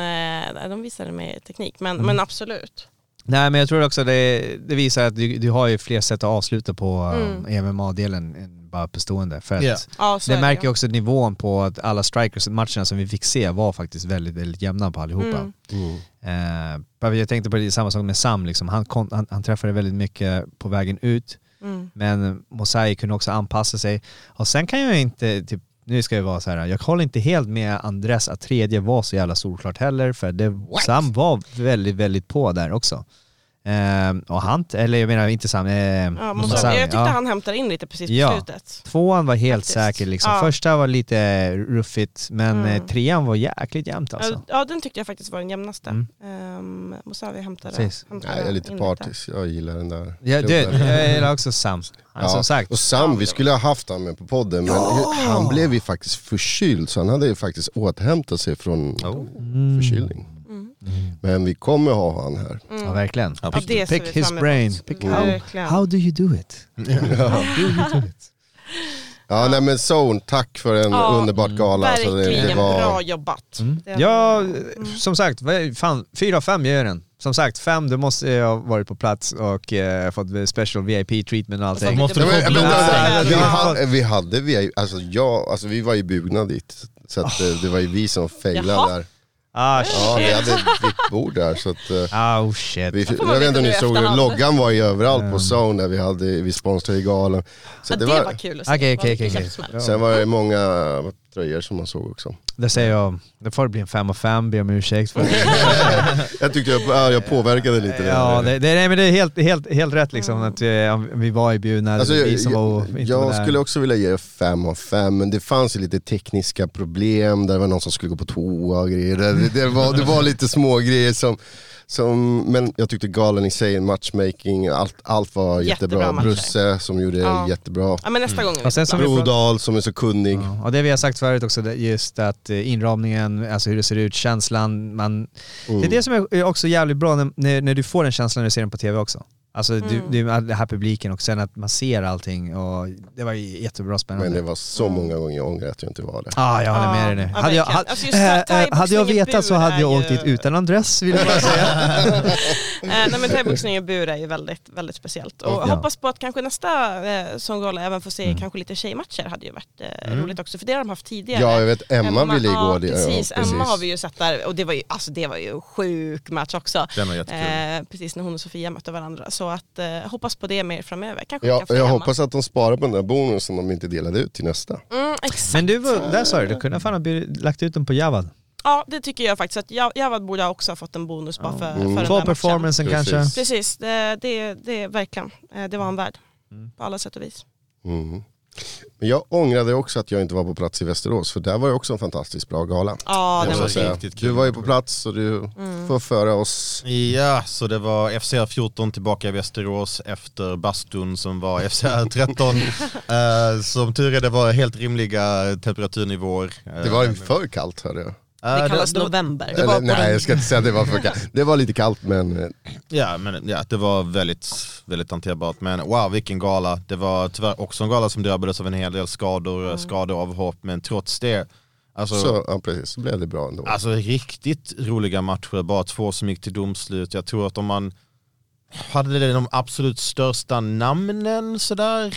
eh, de visade mig teknik. Men, Mm. men absolut. Nej men jag tror också det, det visar att du, du har ju fler sätt att avsluta på um, Mm. MMA-delen än bara på stående. För att Ja. Ja, så Det är märker ju. jag också nivån på att alla strikers-matcherna som vi fick se var faktiskt väldigt, väldigt jämna på allihopa. Mm. Mm. Eh, bara jag tänkte på det, samma sak med Sam, liksom. han, kom, han, han träffade väldigt mycket på vägen ut, Mm. men Mosai kunde också anpassa sig. Och sen kan jag inte, typ, nu ska jag vara så här, jag håller inte helt med Andres att tredje var så jävla solklart heller, för det, Sam var väldigt, väldigt på där också. Eh, och han, eller jag menar inte Sam, eh, Ja, måste, Mosai. jag tyckte Ja. han hämtade in lite precis på Ja. slutet. Tvåan var helt Faktiskt. säker liksom. Ja. Första var lite eh, ruffigt men Mm. eh, trean var jäkligt jämnt alltså. Ja, den tyckte jag faktiskt var den jämnaste. Mm. Ehm, Mosavi hämtade, Precis. hämtade Nej, jag är in lite partisk, jag gillar den där. Ja, du, klubben. jag gillar också Sam. Han, Ja, Som sagt. Och Sam, vi skulle ha haft han med på podden men han blev ju faktiskt förkyld så han hade ju faktiskt återhämtat sig från Mm. förkylning. Mm. Men vi kommer ha han här. Ja, verkligen. Ja, det ser vi Pick his fram emot. Mm. brain. Pick how, Verkligen. how do you do it? (laughs) Ja, nej men Zone, tack för en Ja, underbart gala. Alltså, det, Verkligen det var... bra jobbat. Mm. Det var- Ja, eh, Mm. som sagt, vad- fan, fyra av fem ger jag den. Som sagt, fem, du måste eh, ha varit på plats och eh, fått special VIP-treatment och allting. Måste Nej, men, få vänta, vänta. blodstänk. vi, Ja. hade, vi hade, vi, alltså, jag, alltså, vi var ju bugna dit. Så att, eh, det var ju vi som Jaha. failade där. Ah, shit. Ja, vi hade (laughs) ett bord där. Så att, eh, Oh shit. vi, får man jag vet inte veta om ni nu i såg det, efterhand. loggan var ju överallt på Zone där vi, hade, vi sponsrade ju galan. Så Ja, det var, kul att se. Okej, Det var okej, mycket okej. käft som hände. Bra. sen var det många tröjor som man såg (laughs) också. Det säger jag, det får bli en fem av fem, be om ursäkt för Jag tyckte jag, ja, jag påverkade lite. det. Ja, det, det, nej, men det är helt, helt, helt rätt liksom att vi, om vi var i bjudna, Alltså, vi som jag var inte var jag där. skulle också vilja ge fem av fem, men det fanns ju lite tekniska problem. Där var någon som skulle gå på toa och grejer. Det, det, var, det var lite små grejer som, som, men jag tyckte galen i sig, matchmaking, allt, allt var Jättebra jättebra. matcher. Brusse som gjorde Ja. jättebra. Ja, men nästa gång. är vi Mm. Och sen som vi pratade- Brodal som är så kunnig. Ja, och det vi har sagt förut också, det- just att eh, inramningen, alltså hur det ser ut, känslan. Man, Mm. Mm. Det är det som är är också jävligt bra när, när, när du får den känslan när du ser den på tv också. Alltså du, Mm. du, all- den här publiken och sen att man ser allting och det var ju jättebra spännande. Men det var Mm. så många gånger jag ångrar att jag inte var där. Ah, jag håller med dig Ja, nu. ja, Hade jag, (laughs) verkligen. hade, Alltså, just äh, thai- äh, hade jag thaiboxning i vetat så bur hade jag är åkt dit ju- utan adress vill jag (laughs) bara säga. (laughs) Eh, Nej men thaiboxning i bur är ju väldigt, väldigt speciellt. Och Ja. Mm. hoppas på att kanske nästa eh, Songola även får se kanske lite tjejmatcher hade ju varit eh, roligt också. För det har de haft tidigare. Ja, jag vet Emma, ville ju ja, gå dit. Precis, Ja, Emma har vi ju sett där och det var ju, alltså, det var ju en sjuk match också. Den var jättekul. Eh, precis när hon och Sofia mötte varandra. Så att eh, hoppas på det mer framöver. Kanske vi Ja, kan få jag Emma. hoppas att de sparar på den där bonusen de inte delade ut till nästa. Mm, exakt. Men du, var- där sa du, du kunde fan ha bjudit- lagt ut dem på Javad. Ja det tycker jag faktiskt. Att jag, jag borde ha också ha fått en bonus bara Mm. för, för den På där matchen. performancen Precis. kanske. Precis, det, det, det verkligen. Eh, Det var han värd. På alla sätt och vis. Mm. Men jag ångrade också att jag inte var på plats i Västerås, för där var ju också en fantastiskt bra gala. Ja, Det den måste var jag var Mm. säga. riktigt kul. du var ju på plats och du får föra oss. Ja, så det var FCR 14 tillbaka i Västerås efter bastun som var (laughs) FCR 13. Eh, som tur är det var helt rimliga temperaturnivåer. Eh, Det var ju eh, för kallt hörde jag. Det kallas det- november. det var Eller, på den- nej jag ska inte säga att det var för kallt. Det var lite kallt men eh, Ja, men, ja, det var väldigt, väldigt hanterbart. Men wow, vilken gala. Det var tyvärr också en gala som drabbades av en hel del skador, mm. skadeavhopp. Men trots det, Alltså, Så, ja, precis, så blev det bra ändå. Alltså riktigt roliga matcher, bara två som gick till domslut. Jag tror att om man hade det de absolut största namnen sådär,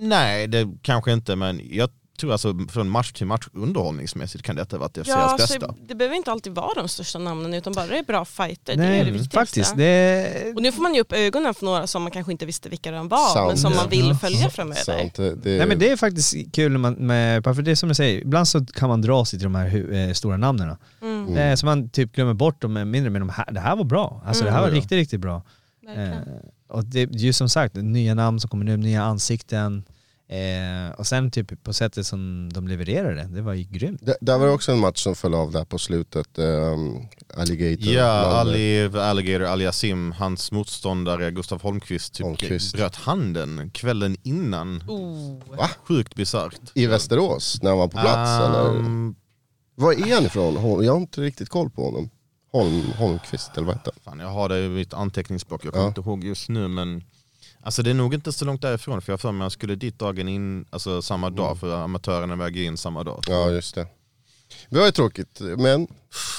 nej det kanske inte men jag tror alltså från match till match underhållningsmässigt kan detta ha varit FCLs Ja, så bästa. det behöver inte alltid vara de största namnen utan bara det är bra fighter, det är det Nej, viktigaste. faktiskt. Det, Och nu får man ju upp ögonen för några som man kanske inte visste vilka de var Sant. men som man vill Ja. följa framöver. Sant, eh, det, det, Nej men det är faktiskt kul när man, med, för det är som du säger, ibland så kan man dra sig till de här hu- eh, stora namnen. Mm. Eh, så man typ glömmer bort dem eh, mindre, men de här, det här var bra. Alltså det här var Mm. riktigt, riktigt bra. Eh, Verkligen. och det är ju som sagt, nya namn som kommer nu, nya ansikten. Eh, och sen typ på sättet som de levererade det, det var ju grymt. det, där var det också en match som föll av där på slutet. ehm, Alligator. Ja, Malmö. Ali Alligator Aliasim, hans motståndare Gustav Holmqvist, typ Holmqvist. bröt handen kvällen innan. Oh. Sjukt bisarrt. I Västerås, när han var på plats eller? Um, Var är han ifrån? Hol- Jag har inte riktigt koll på honom. Holm, Holmqvist eller vad heter han? Fan, jag har det i mitt anteckningsblock, jag kommer Ja. inte ihåg just nu men Alltså det är nog inte så långt därifrån för jag har för mig att jag skulle dit dagen in, alltså samma dag för amatörerna väger in samma dag. Ja just det. Det var ju tråkigt men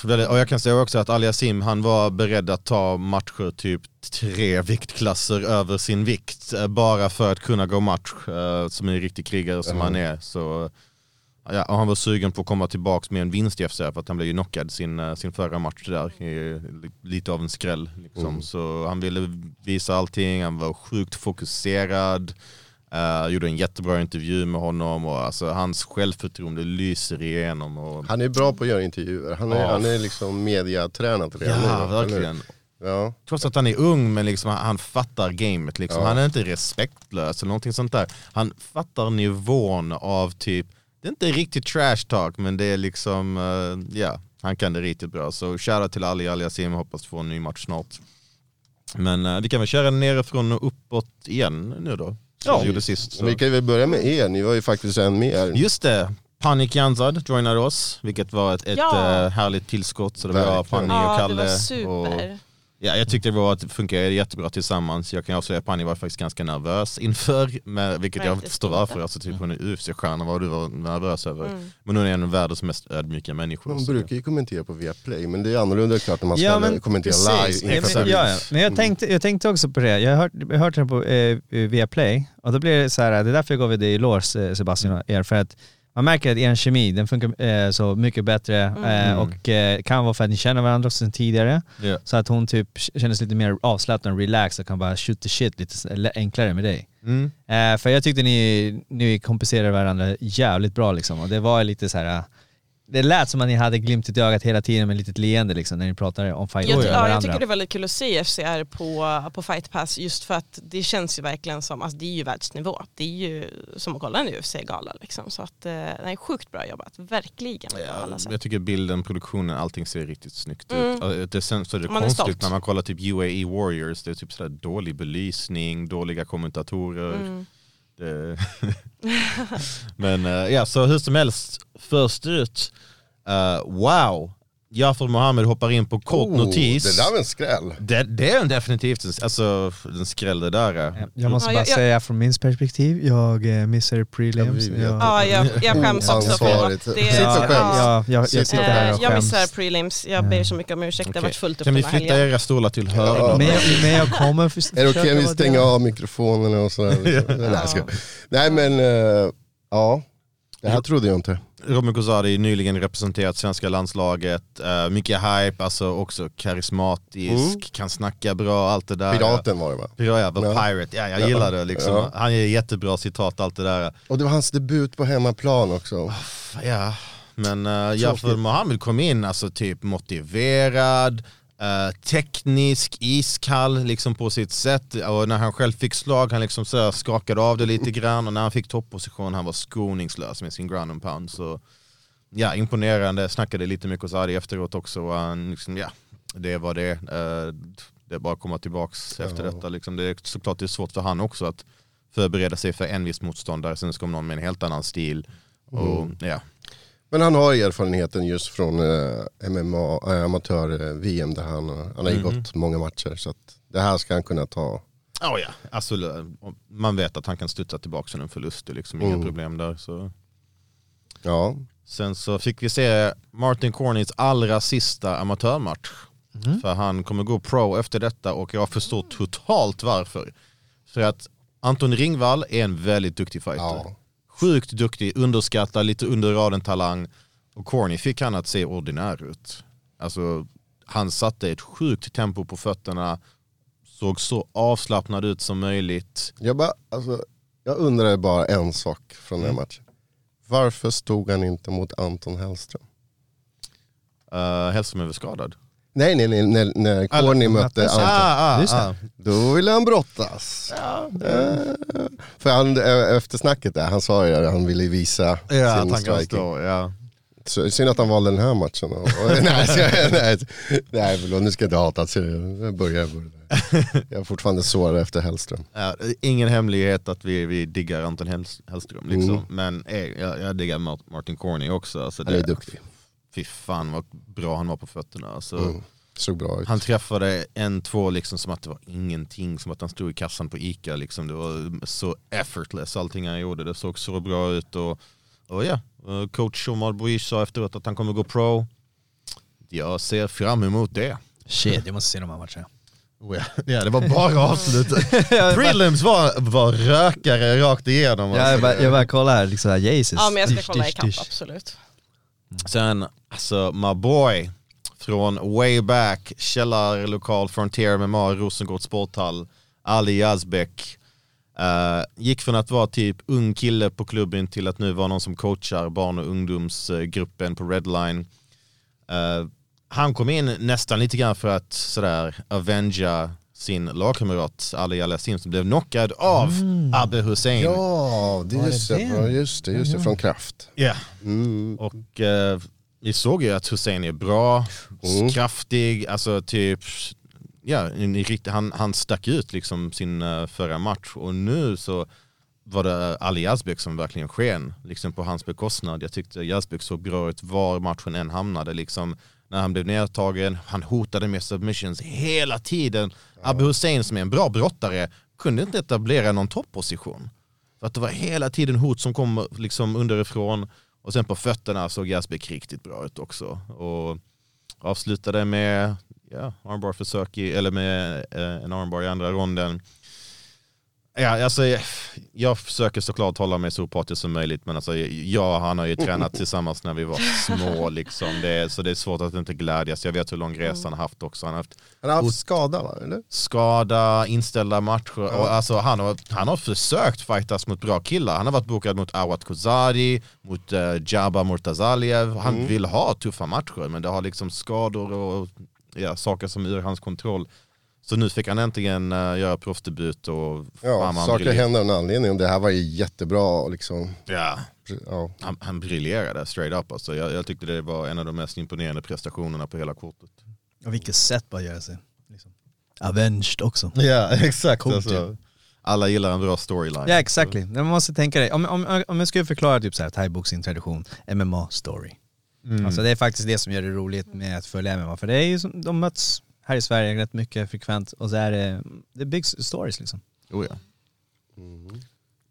Väldigt- Och jag kan säga också att Ali Asim han var beredd att ta matcher typ tre viktklasser över sin vikt eh, bara för att kunna gå match eh, som en riktig krigare som han är. Så, ja, och han var sugen på att komma tillbaka med en vinst i FCF för att han blev ju knockad sin, eh, sin förra match där. i li- Lite av en skräll. Liksom. Så han ville visa allting, han var sjukt fokuserad. eh, gjorde en jättebra intervju med honom och alltså, hans självförtroende lyser igenom. Och, han är bra på att göra intervjuer. Han är, Ja. han är liksom mediatränad redan nu, ja, eller hur? verkligen. Ja. Trots att han är ung men liksom, han- han fattar gamet. Liksom. Ja. Han är inte respektlös eller någonting sånt där. Han fattar nivån av typ, det är inte riktigt trash talk men det är liksom, eh, ja, han kan det riktigt bra. Så shoutout till Ali Aliasim, hoppas få en ny match snart. Men eh, vi kan väl köra nerifrån och uppåt igen nu då. Som Ja. vi gjorde sist. Så. Vi kan väl börja med er, ni var ju faktiskt en med er. Just det, Panik Jansad joinade oss, vilket var ett, ett Ja. eh, härligt tillskott. Så det var jag, Verkligen. Panik och Ja, det Kalle. var och- super. Ja, jag tyckte det var att funkar jättebra tillsammans. Jag kan avslöja att Pani var faktiskt ganska nervös inför, men, vilket jag Faktiskt inte förstår inte. varför. Alltså, typ, hon är UFC-stjärna, vad du var nervös över. Mm. Men hon är en av världens mest ödmjuka människor. Man så- brukar ju kommentera på Viaplay men det är annorlunda klart när man ska Ja, men kommentera precis. live. Ja, men, inför Mm. ja, ja. men jag, tänkte, jag tänkte också på det. Jag har hört, jag har hört det på eh, Viaplay och då blir det så här, det är därför jag gav er det i lås eh, Sebastian och er, för att man märker att er kemi, den funkar eh, så mycket bättre eh, och eh, kan vara för att ni känner varandra också sedan tidigare. Ja. Så att hon typ kändes lite mer avslappnad och relaxed och kan bara shoot the shit lite s- eller enklare med dig. Mm. Eh, för jag tyckte ni, ni kompenserade varandra jävligt bra liksom och det var lite så här. eh, Det lät som att ni hade glimtet i ögat hela tiden med ett litet leende liksom när ni pratade om fight Jag, med ty- ja, jag varandra. tycker det är väldigt kul att se FCR på, på Fight Pass just för att det känns ju verkligen som, alltså det är ju världsnivå. Det är ju som att kolla en UFC-gala liksom. Så att, eh, nej, sjukt bra jobbat, verkligen. på alla sätt. Jag tycker bilden, produktionen, allting ser riktigt snyggt Mm. ut. Alltså, Det, sen så är det Man är konstigt stolt. när man kollar typ UAE Warriors, det är typ sådär dålig belysning, dåliga kommentatorer. Mm. Det... (laughs) Men eh, ja, så hur som helst, först ut, eh, wow! Jafar Mohammed hoppar in på kort Oh, notis. Det där var en skräll. det, det är en definitivt en, alltså, en skräll det där. eh. är. Ja, Jag måste Ja, bara jag- jag- säga från min perspektiv, jag eh, missade prelims. Ja, vi vet. Jag- Ja, jag, jag skäms också. För Oansvarigt. att det, Sitt och Ja, skäms. ja, jag, jag sitter här Eh, och jag skäms. missar prelims, jag ber så mycket om ursäkt, det har Okej. varit fullt upp Kan vi den här flytta helgen. era stolar till hörnan? Men jag, men jag kommer för, Är det okej om vi stänger av mikrofonerna och sådär? liksom? Nej, jag skojar. Nej men, eh, ja. Det här trodde jag inte. Robin Kozadi nyligen representerat svenska landslaget, eh, mycket hype, alltså också karismatisk, Mm. kan snacka bra, allt det där. Piraten var det va? Pirat, ja. Ja. Pirate, ja jag Ja. gillar det liksom. Ja. Han ger jättebra citat, allt det där. Och det var hans debut på hemmaplan också. Ja, men uh, Jafar Mohammed kom in alltså typ motiverad, eh, teknisk, iskall liksom på sitt sätt. Och när han själv fick slag, han liksom så här skakade av det lite grann och när han fick topposition, han var skoningslös med sin ground and pound. Så ja, imponerande. Snackade lite med Kozari efteråt också och han liksom, ja, det var det. Eh, det är bara att komma tillbaks efter detta liksom. Det är såklart det är svårt för han också att förbereda sig för en viss motståndare, sen så kom någon med en helt annan stil. Och, ja. Men han har erfarenheten just från eh, MMA, eh, amatör-VM där han, eh, han har ju gått många matcher. Så att det här ska han kunna ta. Oh, ja. alltså, Oh. man vet att han kan studsa tillbaka från en förlust, det är liksom inga problem där. Så. Ja, Sen så fick vi se Martin Cornys allra sista amatörmatch. För han kommer gå pro efter detta och jag förstår totalt varför. För att Anton Ringvall är en väldigt duktig fighter. Ja. Sjukt duktig, underskattad, lite under raden talang. Och Corny fick han att se ordinär ut. Alltså, han satte ett sjukt tempo på fötterna, såg så avslappnad ut som möjligt. jag, bara, alltså, jag undrar bara en sak från den här matchen. Varför stod han inte mot Anton Hellström? Uh, Hellström är väl skadad? Nej, nej, nej, när, när Corny mötte möttes. Anton. Ah, ah, Just ah. det. Då ville han brottas. Eh, För han, eh, efter snacket där, han sa ju att han ville visa Ja, att sin han kan striking. stå, ja. Så, synd att han valde den här matchen. Och, (laughs) och, nej, så, nej, nej, förlåt, nu ska jag inte hata. Så Jag börjar, jag, börjar. jag är fortfarande sårad efter Hellström. Ja, ingen hemlighet att vi, vi diggar Anton Hells- Hellström liksom. Men eh, jag, jag diggar Mar- Martin Corny också. Alltså Han är duktig. Fy fan vad bra han var på fötterna. Alltså, Mm. Såg bra ut. Han träffade en, två liksom som att det var ingenting. Som att han stod i kassan på Ica liksom. Det var så effortless allting han gjorde. Det såg så bra ut. Och, och ja, eh, coach Omar Bouish sa efteråt att han kommer gå pro. Jag ser fram emot det. Shit, jag måste se de här matcherna. Oh ja. ja, det var bara (laughs) avslutet. Prelims var, var rökare rakt igenom. Ja, jag, alltså. bara, jag bara kollar här, liksom här, Jesus. Ja men jag ska Dysch, kolla dysch, ikapp dysch. absolut. Sen, alltså my boy från way back, källarlokal Frontier MMA, Rosengårds sporthall, Ali Yazbek. Eh, gick från att vara typ ung kille på klubben till att nu vara någon som coachar barn och ungdomsgruppen på Redline. Eh, han kom in nästan lite grann för att sådär avengea sin lagkamrat Ali Alassim som blev knockad av Abbe Hussein. Ja, det är just, det, Ja, just det, just det, från Kraft. Ja. Mm. Och eh, vi såg ju att Hussein är bra, Mm. kraftig, alltså typ, ja, en riktig- han, han stack ut liksom sin eh, förra match och nu så var det Ali Yazbek som verkligen sken, liksom på hans bekostnad. Jag tyckte Yazbek såg bra ut var matchen än hamnade liksom. När han blev nedtagen, han hotade med submissions hela tiden. Abu Hussein som är en bra brottare kunde inte etablera någon topposition. För att det var hela tiden hot som kom liksom underifrån. Och sen på fötterna såg Jasbek riktigt bra ut också. Och avslutade med ja, armbar-försök, i- eller med eh, en armbar i andra ronden. Ja, alltså, jag- jag försöker såklart hålla mig så opartisk som möjligt, men alltså, jag och han har ju tränat tillsammans när vi var små. Liksom. Det är, så det är svårt att inte glädjas. Jag vet hur lång resa han har haft också. Han har haft Han har haft skada va? Eller? skada, inställda matcher. Och alltså, han, har, han har försökt fightas mot bra killar. Han har varit bokad mot Awad Kozari, mot eh, Jabba Murtazaliev. Han vill ha tuffa matcher men det har liksom skador och ja, saker som är ur hans kontroll. Så nu fick han äntligen eh, göra proffsdebut och Ja, han saker briljer- händer av en anledning och det här var ju jättebra. Liksom, Ja, ja. han, han briljerade straight up alltså. jag, jag tyckte det var en av de mest imponerande prestationerna på hela kortet. Och vilket sätt bara göra sig. Liksom. Avenged också. Ja, exakt. Coolt alltså. ju. Alla gillar en bra storyline. Ja, exactly. Men Man måste tänka dig, om, om, om jag skulle förklara typ så här thaiboxning tradition, MMA-story. Alltså det är faktiskt det som gör det roligt med att följa MMA, för det är ju som, de möts här i Sverige rätt mycket frekvent och så är det, det byggs stories liksom. Oh, ja. Mm.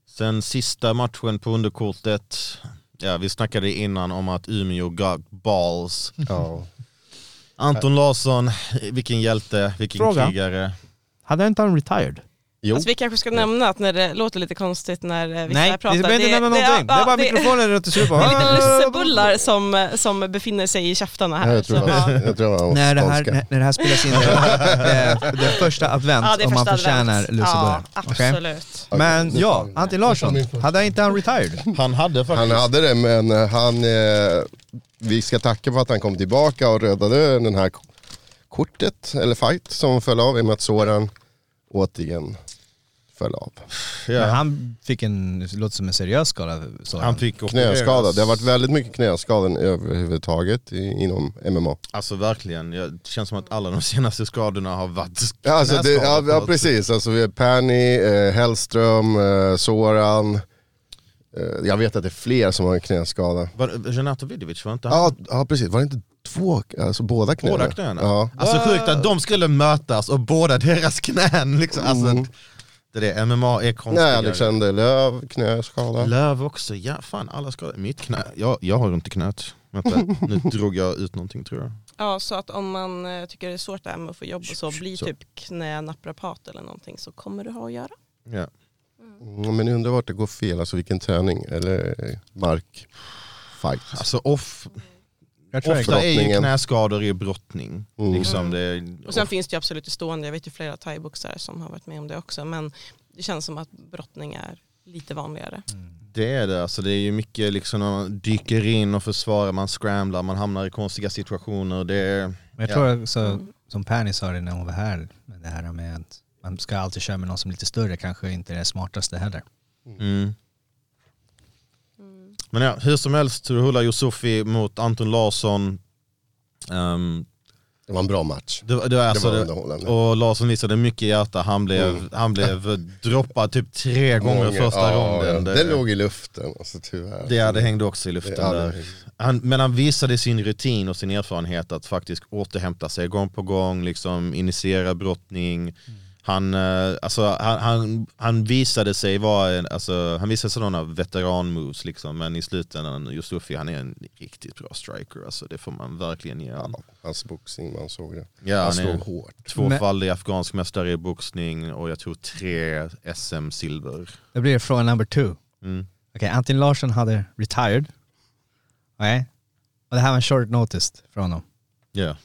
Sen sista matchen på underkortet. Ja, vi snackade innan om att Umeå (laughs) got balls. Mm-hmm. Ja. Anton Larsson, vilken hjälte, vilken Fråga. krigare. Hade inte han retired? Jo. Alltså, vi kanske ska nämna att när det låter lite konstigt när eh, vissa Nej, vi pratar. behöver inte nämna någonting. Det, ja, är bara det- mikrofonen runt i supan. (laughs) Det är lite lussebullar som, eh, som befinner sig i käftarna här. Ja, jag tror så, ja. han jag tror han var När det, här, skånska. när, när det här (laughs) spelas in, det är det är första advent Ja, det är och man första förtjänar advent. lussebullar. Ja, Okej? absolut. Men ja, Antti Larsson, hade inte han retired? Han hade faktiskt... Han hade det men eh, han, eh, vi ska tacka för att han kom tillbaka och räddade den här k- kortet, eller fight som föll av i och med att Soran återigen föll av. Men (laughs) ja, han fick en, det låter som en seriös skada. Så han fick opereras. Knäskada, det har varit väldigt mycket knäskador överhuvudtaget i, inom MMA. Alltså verkligen, Ja, det känns som att alla de senaste skadorna har varit Ja, Alltså det, ja, knäskador på ja något sätt. precis, alltså, vi har Perny, eh, Hellström, eh, Soran. Eh, jag vet att det är fler som har en knäskada. Var, Renato Vidovic, var inte han? Ja, ja precis, var det inte två, alltså båda knäna? Båda knäna? Ja. Alltså, Alltså sjukt att de skulle mötas och båda deras knän liksom. Alltså, hette det? MMA är konstigare. Mm. Nej, Alexander Löv, knäskada. Löv också, ja fan alla skador. Mitt knä, jag, jag har inte knät. Vänta, nu drog jag ut någonting tror jag. Ja, så att om man eh, tycker det är svårt det här med att få jobb och så, bli Så. typ knänaprapat eller någonting så kommer du ha att göra. Ja. Mm, Men jag undrar vart det går fel, alltså vilken träning eller mark. Fight. Alltså off, Jag tror ofta är ju brottningen. knäskador i brottning. Mm. Liksom det, är- Och sen finns det ju absolut i stående, jag vet ju flera thaiboxare som har varit med om det också, men det känns som att brottning är lite vanligare. Mm. Det är det, alltså det är ju mycket liksom när man dyker in och försvarar, man scramlar, man hamnar i konstiga situationer. Det är, Men jag Ja. tror också, som Penny sa det när hon var här, med det här med att man ska alltid köra med någon som är lite större, kanske inte är det smartaste heller. mm. Men ja, hur som helst, Turhullah Yusufi mot Anton Larsson. Ehm, Det var en bra match. det, var- det var alltså det var det underhållande. och Larsson visade mycket hjärta, han blev, han blev droppad typ tre gånger Mm. Många- första ja, ronden. ja, Det, låg i luften, alltså tyvärr. det, ja, det hängde också i luften Ja, det- där. Han, men han visade sin rutin och sin erfarenhet att faktiskt återhämta sig gång på gång, liksom initiera brottning. Mm. Han, eh, alltså, han, han, han visade sig vara en, alltså, han visade sådana veteran-moves liksom, men i slutändan, Yusufi han är en riktigt bra striker, alltså, det får man verkligen ge honom. Hans boxning, man såg det. Ja, han han är slog hårt. tvåfaldig afghansk mästare i boxning och jag tror tre SM-silver. Det blir fråga number two. Mm. Okej, Antin Larsson hade retired. Okej. Och det här var en short notice från honom. Ja,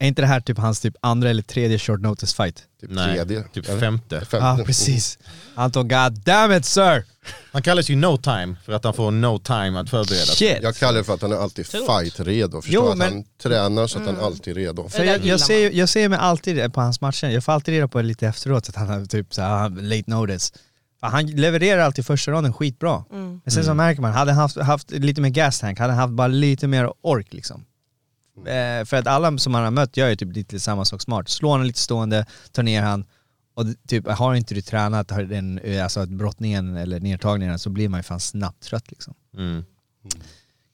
Är inte det här typ hans typ andra eller tredje short notice fight? Typ Nej, tredje. typ eller? femte. Ja, Femte. ah, precis. Anton, god damn it sir! Han kallas ju No Time för att han får No Time att förbereda sig. Shit! Jag kallar det för att han är alltid fight-redo. Förstår Jo, att men- Mm. han tränar så att han alltid är redo. För Det där jag, gillar jag, ser, ju- jag ser mig alltid det på hans matcher, jag får alltid reda på det lite efteråt att han har typ så här, late notice. Fan, Han levererar alltid första raden skitbra. Mm. Men sen så märker man, hade han haft, haft lite mer gas tank, hade han haft bara lite mer ork liksom. Eh, för att alla som han har mött gör ju typ lite samma sak smart. Slår han lite stående, tar ner han och d- typ har inte du tränat har den, eh, alltså att brottningen eller nedtagningen så blir man ju fan snabbt trött liksom. Mm.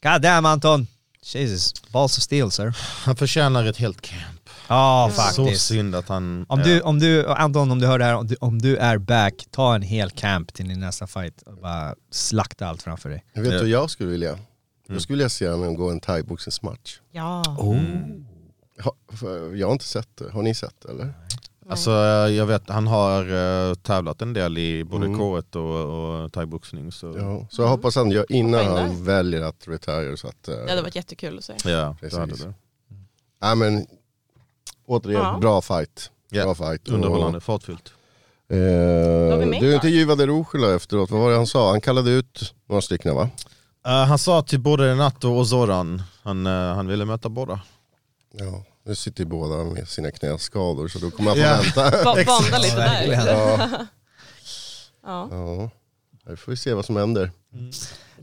God damn Anton! Jesus, balls of steel sir. Han förtjänar ett helt camp. Ja faktiskt. Så synd att han... Om ja. du, om du, Anton, om du hör det här, om du, om du är back, ta en hel camp till din nästa fight och bara slakta allt framför dig. Vet du vad jag skulle vilja? Mm. Jag skulle vilja se honom gå en thaiboxningsmatch. Ja. Oh. Mm. Ha- för Jag har inte sett det. Har ni sett det eller? Alltså jag vet, han har eh, tävlat en del i både K1 och, och thaiboxning. Så... Mm. Ja. Ja. Så jag hoppas han gör innan Hoppa in han väljer att retire. Så att, eh, Det hade varit jättekul att se. det Precis. hade det. nej, men, återigen, Ja. bra fight. Ja, Bra fight. Och- Underhållande, fartfyllt. Eh, Var vi med du då? intervjuade Rojula efteråt, vad var det han sa? Han kallade ut några stycken va? Eh, han sa till både Renato och Zoran, han, eh, han ville möta båda. Ja. Nu sitter ju båda med sina knäskador så då kommer jag få Ja. vänta. Ba- Bonda lite där. (laughs) Ja. Ja. Ja. Nu får vi se vad som händer.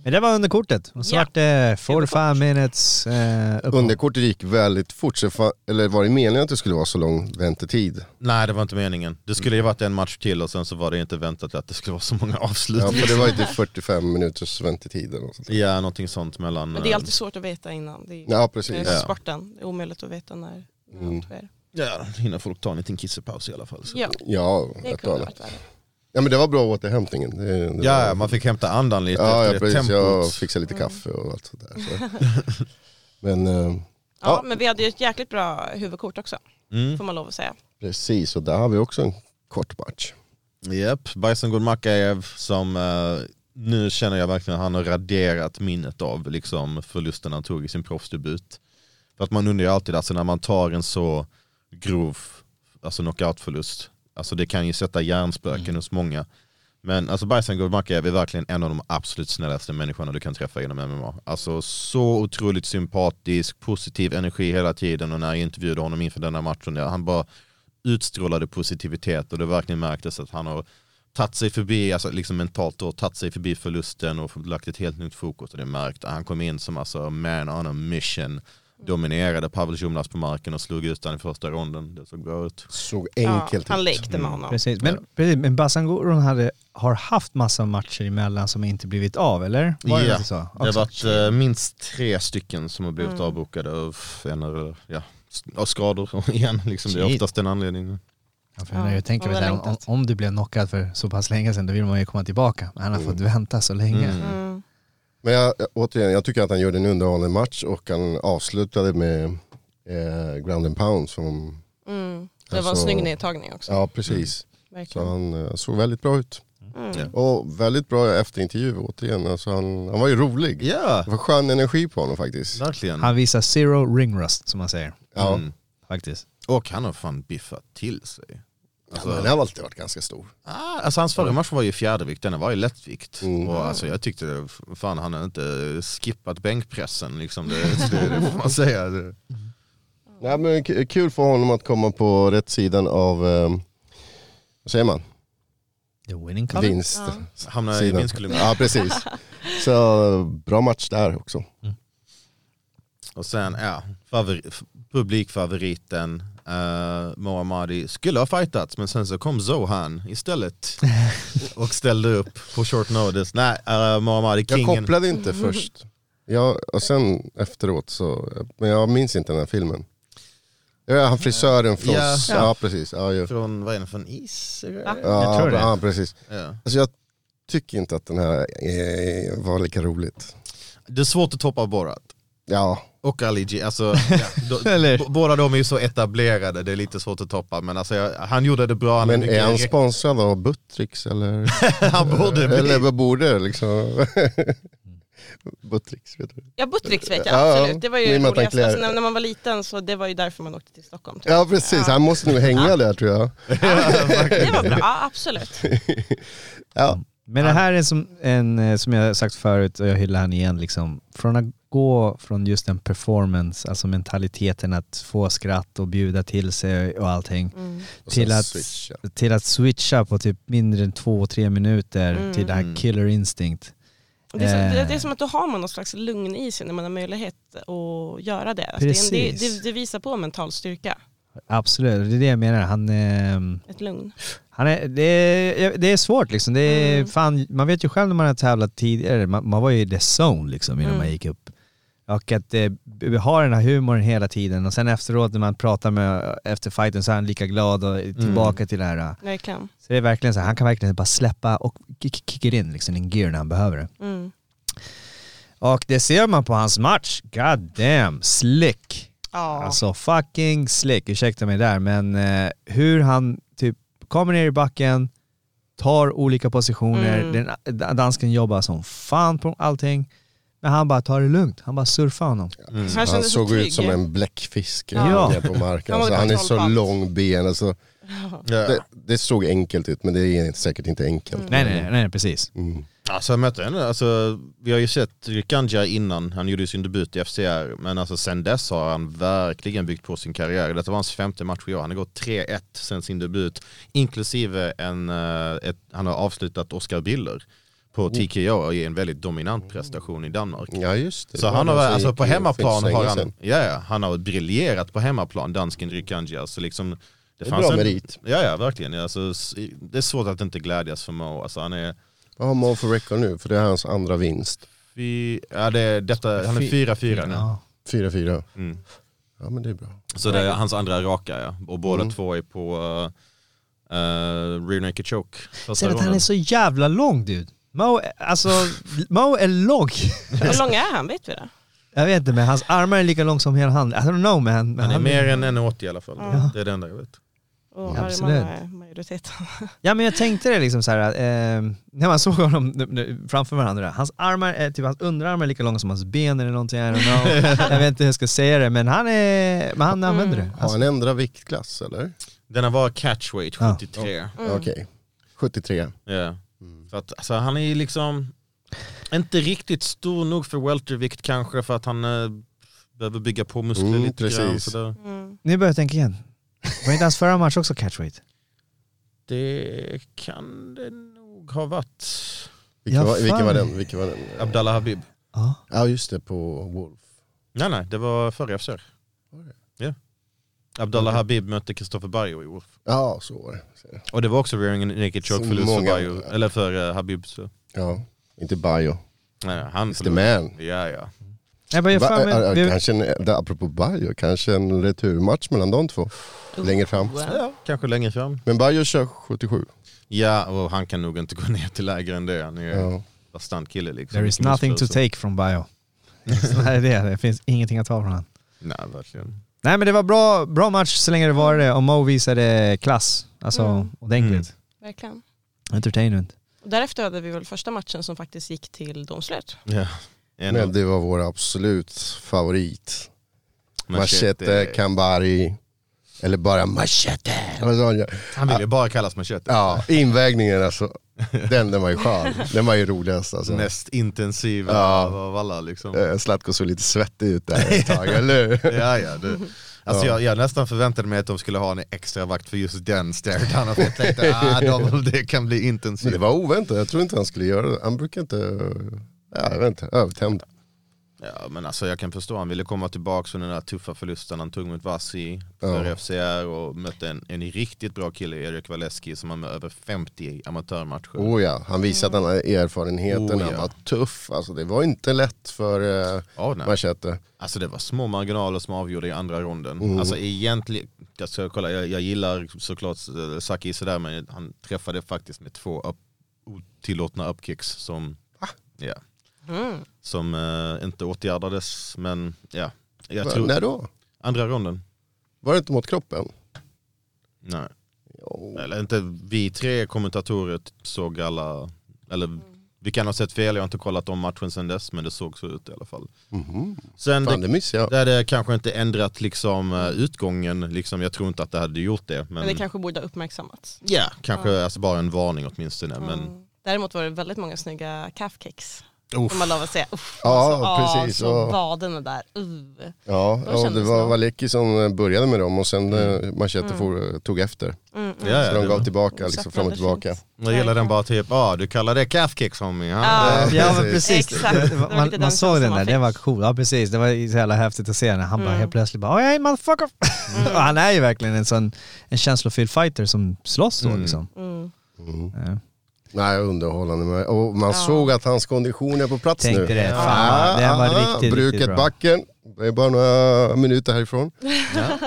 Men det var under kortet. Och så Ja. vart det 45 minutes eh, upp. Underkortet gick väldigt fort, så fa- eller var det meningen att det skulle vara så lång väntetid? Nej det var inte meningen. Det skulle ju varit en match till och sen så var det inte väntat att det skulle vara så många (laughs) avslut. Ja, för det var (laughs) ju typ 45 minuters väntetid eller något sånt. Ja, någonting sånt mellan... Men det är eh, alltid svårt att veta innan. Det är, Ja det precis. är sporten, det är omöjligt att veta när, när allt sker. eh, Ja, hinner folk ta en liten kissepaus i alla fall. Så. Ja, Ja, det ett kunde och ha annat. varit värre. Ja men det var bra återhämtningen. Det, det var- Ja, man fick hämta andan lite ja, efter ja, det precis. Jag tempot. fixade lite Mm. kaffe och allt sånt där. Så. (laughs) Men eh, Ja, Ja. men vi hade ju ett jäkligt bra huvudkort också, Mm. får man lov att säga. precis, och där har vi också en kort match. Japp, Bajsen Gurmakaev som eh, nu känner jag verkligen att han har raderat minnet av liksom, förlusten han tog i sin proffsdebut. För att man undrar ju alltid, alltså, när man tar en så grov alltså knockoutförlust, alltså, det kan ju sätta hjärnspöken hos många. Men alltså Bajsen Gurmakaev är verkligen en av de absolut snällaste människorna du kan träffa inom MMA. Alltså så otroligt sympatisk, positiv energi hela tiden och när jag intervjuade honom inför denna matchen, ja, han bara utstrålade positivitet och det verkligen märktes att han har tagit sig förbi, alltså liksom mentalt då, tagit sig förbi förlusten och lagt ett helt nytt fokus och det märkte han kom in som alltså man on a mission dominerade Pavel Tjomlas på marken och slog ut honom i första ronden. Det såg bra ut. Såg Ja, enkelt han ut. lekte med honom. Precis, men, precis, men Basangoron hade, har haft massa matcher emellan som inte blivit av, eller? Var det Ja, inte så? Det har Också. varit eh, minst tre stycken som har blivit avbokade av, en, eller- ja, s- av skador (laughs) igen. Liksom. Det är Shit. oftast den anledningen. Ja, för Ja, jag tänker man väl har så här, om, längtat. om du blev knockad för så pass länge sedan, då vill man ju komma tillbaka. Men han har Mm. fått vänta så länge. Mm. Men jag, återigen, jag tycker att han gjorde en underhållande match och han avslutade med eh, ground and pound. Som, Mm. Det var en Alltså- snygg nedtagning också. ja, precis. Mm. Så Verkligen. han eh, såg väldigt bra ut. Mm. Och väldigt bra efterintervju återigen. Alltså han, han var ju rolig. Ja, Det var skön energi på honom faktiskt. verkligen. Han visar zero ring rust, som man säger. Ja. Mm. Faktiskt. Och han har fan biffat till sig. Alltså, Men han har alltid varit ganska stor. ah, alltså hans förra match var ju fjärdevikt, denna var ju lättvikt. Mm. Och alltså, jag tyckte, det- fan han har inte skippat bänkpressen liksom. Det, (laughs) det, det får man säga. Det- Nej, men k- kul för honom att komma på rätt sidan av, eh, vad säger man, The winning color. vinst. Ja. Hamnar i sidan. vinstkolumnen. Ja, (laughs) precis. Så bra match där också. Och sen, ja, favori, f- publikfavoriten uh, Mohammadi skulle ha fightats men sen så kom Zohan istället (laughs) och ställde upp på short notice. Nej, uh, Mohammadi Jag kingen. kopplade inte först. Ja, och sen efteråt så, men jag minns inte den här filmen. Ja, han frisören från, Ja. ja, ja precis. Ja, ju. Från, vad är det, från is? Va? Ja, Jag tror det. ja, precis. Ja. Alltså jag tycker inte att den här eh, var lika roligt. Det är svårt att toppa Borat. Ja, Och Ali G, alltså, ja, då, Eller? b- båda de är ju så etablerade, det är lite svårt att toppa men alltså, jag, han gjorde det bra. Han men hade är han mycket- sponsrad av Buttricks (laughs) eller? (laughs) han borde bli. Eller vad borde liksom? (laughs) Buttricks vet du. Ja, Buttricks vet jag Ja, absolut. Det var ju min roligast. matteklär. Alltså, när, när man var liten så det var ju därför man åkte till Stockholm. Typ. Ja precis, han måste nog hänga där tror jag. Det var bra, ja, absolut. Men det här är som, en, eh, som jag har sagt förut och jag hyllar han igen, liksom, från att gå från just en performance, alltså mentaliteten att få skratt och bjuda till sig och allting, (laughs) Mm. Och sen till att, switcha. till att switcha på typ mindre än två, tre minuter Mm. till det här killer instinct. Det är, som, det, Eh. det är som att då har man någon slags lugn i sig när man har möjlighet att göra det. Alltså, det, är en- det, Precis. det, det visar på mental styrka, Absolut, det är det jag menar. Han, ehm, ett lugn. Han är, det, är, det är svårt liksom. Det är, Mm. fan, man vet ju själv när man har tävlat tidigare, man, man var ju i the zone liksom innan Mm. man gick upp. Och att eh, b- ha den här humorn hela tiden och sen efteråt när man pratar med, efter fighten så är han lika glad och Mm. är tillbaka till det här. Verkligen. Så det är verkligen så här, han kan verkligen bara släppa och kick- kickar in liksom en gear när han behöver det. Mm. Och det ser man på hans match, god damn, slick. Ja. Alltså fucking slick, ursäkta mig där, men eh, hur han typ kommer ner i backen, tar olika positioner, Mm. den, eh, d- dansken jobbar som fan på allting, men han bara tar det lugnt, han bara surfar honom. han Han kände sig såg trygg. ut som en bläckfisk Ja. ner (laughs) på marken. Han var Alltså, han är så kontrollpant. lång ben. Alltså, (laughs) Ja. det, det såg enkelt ut men det är säkert inte Mm. enkelt. Nej, nej, nej, nej, precis. Mm. Alltså jag mötte henne, alltså, vi har ju sett Rikandja innan, han gjorde ju sin debut i FCR, men alltså sen dess har han verkligen byggt på sin karriär. Detta var hans femte match i år, han har gått 3-1 sen sin debut, inklusive en, eh, ett, han har avslutat Oscar Biller på TKO i en väldigt dominant prestation i Danmark. Oh. Ja just det. Så Det var han har, som alltså gick på ju för inte så hemmaplan länge har han, sedan. ja, ja, han har briljerat på hemmaplan, dansken Rikandja. Så liksom, det, är bra merit. Ja, ja, verkligen. Alltså, s- det är svårt att inte glädjas för Mo. Alltså, han är, Vad har Mo för record nu? För det är hans andra vinst. fy, ja, det är detta, han är 4-4 nu. Ja. 4-4. Mm. Ja men det är bra. Så det är hans andra raka, ja. Och båda Mm. två är på eh, eh, rear naked choke. Första Sen att han gången. är så jävla lång dude. Mo, är- alltså, Mo är lång. (laughs) Hur lång är han? Vet vi det? Jag vet inte men hans armar är lika lång som hela handen. I don't know man. Men han är mer än 1,80 i alla fall. Ja. Det är det enda jag vet. Och Ja, armarna är majoriteten. Ja men jag tänkte det liksom så här, eh, när man såg honom nu- nu framför varandra, hans armar, är, typ hans underarmar är lika långa som hans ben eller någonting, I don't know. jag vet inte hur jag ska säga det men han, är, men han använder det. Alltså, Har han ändrat viktklass eller? Denna var catchweight Ja. 73. Mm. Okej. 73. Ja. Mm. För att, alltså, han är ju liksom inte riktigt stor nog för weltervikt kanske för att han eh, behöver bygga på muskler Mm, lite grann. precis. Så det, Mm. Nu börjar jag tänka igen. Var inte hans förra match också catchweight? det kan det nog ha varit. Vilken, Ja, var, fan. vilken var den? Vilken var den? Abdallah Habib. Ja. Ja just det, på Wolf. Nej nej, det var förra FCR. Ja. Abdallah Habib mötte Kristoffer Bayo i Wolf. Ja så var det. Ser jag. Och det var också rearing naked choke Så förlust för många- Bayo, eller för eh, Habib. Så. Ja, inte Bio. Nej, han The man. Ja, ja. Jag bara, jag Ba- fan, är- men, är- vi, eh, Kanske en, det- apropå Bayo, kanske en returmatch mellan de två längre fram. Ja, kanske längre fram. Men Bayo kör 77. Ja, och han kan nog inte gå ner till lägre än det. Han är ju en Ja. bastant kille liksom. There is Vilken nothing to missbruk, så- take from bio. (laughs) Så här är det, det finns ingenting att ta från han. Nej, verkligen. Nej men det var bra, bra match så länge det var det och Mo visade klass. Alltså Mm. ordentligt. Verkligen. Entertainment. Och därefter hade vi väl första matchen som faktiskt gick till domslut. Ja. En Men av- det var vår absolut favorit. Machete, Machete. Kambari. Eller bara Machete. Vad sa han? Han vill ju bara kallas Machete. Ja, invägningen alltså. Den, den var ju skön. Den var ju roligast alltså. Mest intensiva Ja. av alla liksom. Eh, Zlatko såg lite svettig ut där ett tag, eller hur? Ja, ja, du. Alltså jag, jag nästan förväntade mig att de skulle ha en extra vakt för just den stare down. Och jag (laughs) tänkte, ah, de, det kan bli Men det intensivt. var oväntat, jag tror inte han skulle göra det. Han brukar inte, ja, jag vet inte, övertänd. Ja, men alltså jag kan förstå, han ville komma tillbaka från den där tuffa förlusten han tog mot Vassi för Ja. FCR och mötte en, en riktigt bra kille, Erik Waleski, som har med över 50 amatörmatcher. Oh ja, han visade att han hade erfarenheten, Oh han ja. var tuff. Alltså, det var inte lätt för eh, Ja, nej. Machete. Alltså det var små marginaler som avgjorde i andra ronden. Oh. Alltså egentligen, jag, ska kolla, jag, jag gillar såklart eh, Saki sådär men han träffade faktiskt med två upp, otillåtna upkicks som, ja, Mm. som eh, inte åtgärdades. Men ja, jag Va- tror, När då? andra ronden. Var det inte mot kroppen? Nej. Jo. Eller inte, vi tre kommentatorer såg alla, eller Mm. vi kan ha sett fel, jag har inte kollat om matchen sedan dess men det såg så ut i alla fall. Sen Mhm. Fan det missade jag. Det hade kanske inte ändrat liksom, eh, utgången, liksom, jag tror inte att det hade gjort det. Men, Men det kanske borde ha uppmärksammats. Ja, kanske alltså, bara en varning åtminstone. Men, Mm. Däremot var det väldigt många snygga calfkicks. Uff. Får man lov att säga. Uff, Ja, ah, precis, Så ja. vaderna där. Uh. Ja, Då ja, det kändes var det. Valecki som eh, började med dem och sen mm. Machete for, tog efter. Mm, mm. ja, ja, Så de det gav var- tillbaka, liksom, Saknade fram och det tillbaka. fint. jag gillar den bara typ, ah, du kallar det calfkick homie. Ja. Ja. ja men precis. Exakt. Det var Mm. Man, lite man den känslan såg den man där, fick. det var cool. Ja precis, det var så jävla häftigt att se när han bara helt plötsligt bara hey motherfucker. Mm. (laughs) Och han är ju verkligen en sån en känslofylld fighter som slåss så liksom. Mm. Ja. Mm. Nej, underhållande. men- Och man såg att hans kondition är på plats nu. Tänkte det, fan, den var riktigt, Ah, Bruket riktigt bra. backen, det är bara några minuter (laughs) härifrån.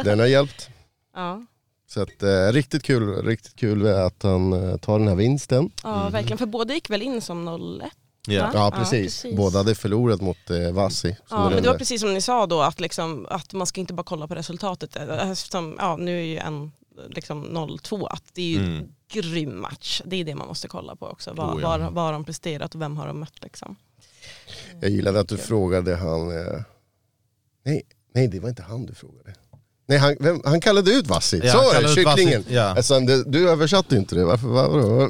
Den har hjälpt. Ja, Så att, eh, riktigt kul, riktigt kul att han eh, tar den här vinsten. ja verkligen. För båda gick väl in som 0-1. Ja. Ja, Ja, precis. precis. Båda hade förlorat mot eh, Vassi. som Ja, den men det var där. precis som ni sa då, att, liksom, att man ska inte bara kolla på resultatet. Eftersom, ja, nu är ju en liksom 0-2, att det är ju en grym match. Det är det man måste kolla på också. Vad Oh, ja. vad- vad har de presterat och vem har de mött liksom. Jag gillade att du frågade han... Eh, nej, nej, det var inte han du frågade. Nej, han, vem, han kallade ut Vassi. Ja, han Så är kallade det, ut kycklingen. Vassi, ja. Alltså, det, du översatte ju inte det. Varför? Varför?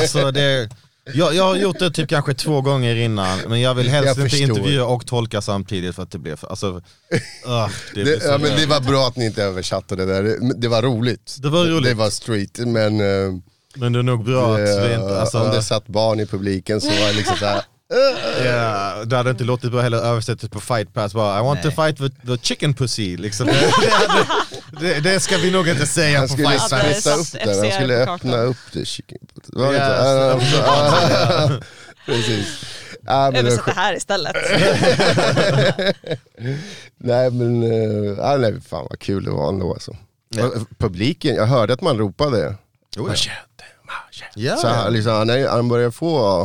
Alltså, det, jag, jag har gjort det typ kanske två gånger innan, men jag vill helst Jag inte förstår. intervjua och tolka samtidigt för att det blir för, alltså, ah, det, blir Det, så ja, men det jävla- var bra att ni inte översatte det där. Det, det var roligt. Det var roligt. Det, var street, men eh, men det är nog bra att vi inte, eh, alltså, om det satt barn i publiken så var det liksom så här. Ja, det hade inte låtit bra heller översättet på fight pass bara I want to fight the, the chicken pussy liksom. (laughs) det, det, det ska vi nog inte säga Han på skulle fight pass. splissa satt upp den, han FCR skulle på öppna kartan. upp det. Chicken. Var det Ja, inte så? Ja, (laughs) Precis. Ja, men det var Översätt det här istället. Nej men, eh, ah, nej, fan vad kul det var ändå alltså. Och Publiken, jag hörde att man ropade. Jo, ja. Machete, machete. Ja. Så han, liksom, han, är, han börjar få,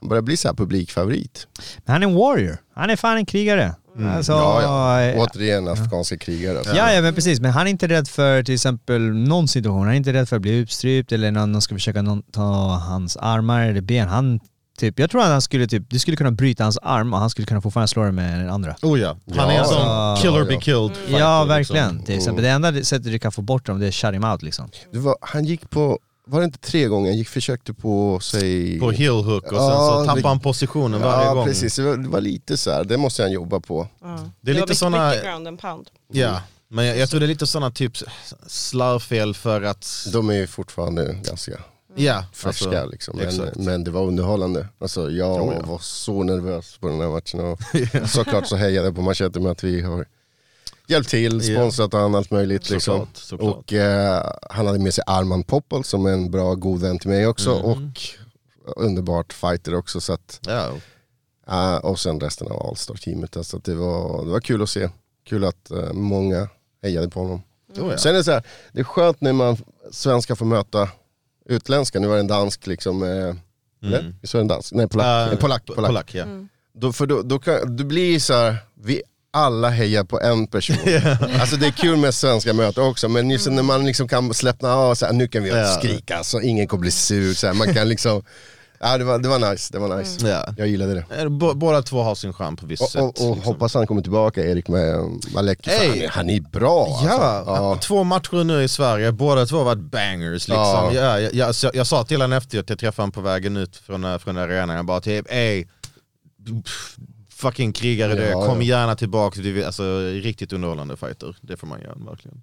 han börjar bli så här publikfavorit. Men han är en warrior, han är fan en krigare. Alltså, Ja, ja. ja. Återigen afghanska krigare. Alltså. Ja, ja men precis, men han är inte rädd för till exempel någon situation, han är inte rädd för att bli utstrypt eller någon, någon ska försöka någon, ta hans armar eller ben. Han, typ, jag tror att han skulle, typ, du skulle kunna bryta hans arm och han skulle kunna fortfarande slå dig med den andra. Oh ja, han är Ja, en sån ja, kill or ja. be killed fighter, Ja, liksom. verkligen. Till exempel. Det enda sättet du kan få bort dem det är shut him out liksom. Det var, han gick på, var det inte tre gånger, han gick, försökte på sig... På heel hook och sen Ja, så tappar det- han positionen varje ja gång. precis, det var, det var lite så här. det måste han jobba på. Ja. Det är var lite mycket- såna- mycket ground and pound. Mm. Ja. Men jag, jag tror det är lite sådana typ slarvfel för att, De är ju fortfarande ganska ja. färska alltså, liksom. men, exakt. men det var underhållande. Alltså, jag Jo, ja. var så nervös på den här matchen. (laughs) Och såklart så hejade jag på Machete med att vi har hjälpt till, Ja. sponsrat och allt möjligt. Liksom. Såklart, såklart. Och eh, han hade med sig Arman Poppel som är Mm. Mm. en bra god vän till mig också. Och underbart fighter också. Så att, Ja, Eh, och sen resten av All-Star-teamet. Alltså att det, var, det var kul att se. Kul att eh, många hejade på honom. Sen är det så här, det är skönt när man svenskar får möta utländska. Nu var det en dansk liksom, eh, eller? Visst var det en dansk? Nej, polack. Mm. Eh, Eh, polack, po- polack. ja. Mm. Då, för då, då kan, du blir så här, vi alla hejar på en (laughs) person. Alltså det är kul med svenska möten också, men just när man liksom kan släppna av, så här, nu kan vi Mm. Ja. skrika så ingen kommer bli sur. Så här, man kan liksom, (laughs) ja, det, var, det var nice, det var nice. Ja. Jag gillade det. Eh, bå- Båda två har sin charm på visst Och, sätt. och, och liksom. hoppas han kommer tillbaka Erik med um, Malek. Fan, Hey. Han, är, han är bra alltså. Ja, Ja. två matcher nu i Sverige, båda två har varit bangers liksom. Ja. Ja. jag, jag, så jag, jag sa till honom efteråt, jag träffade honom på vägen ut från, eh, från arenan, jag bara typ ey, pff, fucking krigare du, Ja, kom ja. gärna tillbaka, du, vill- alltså riktigt underhållande fighter, det får man göra verkligen.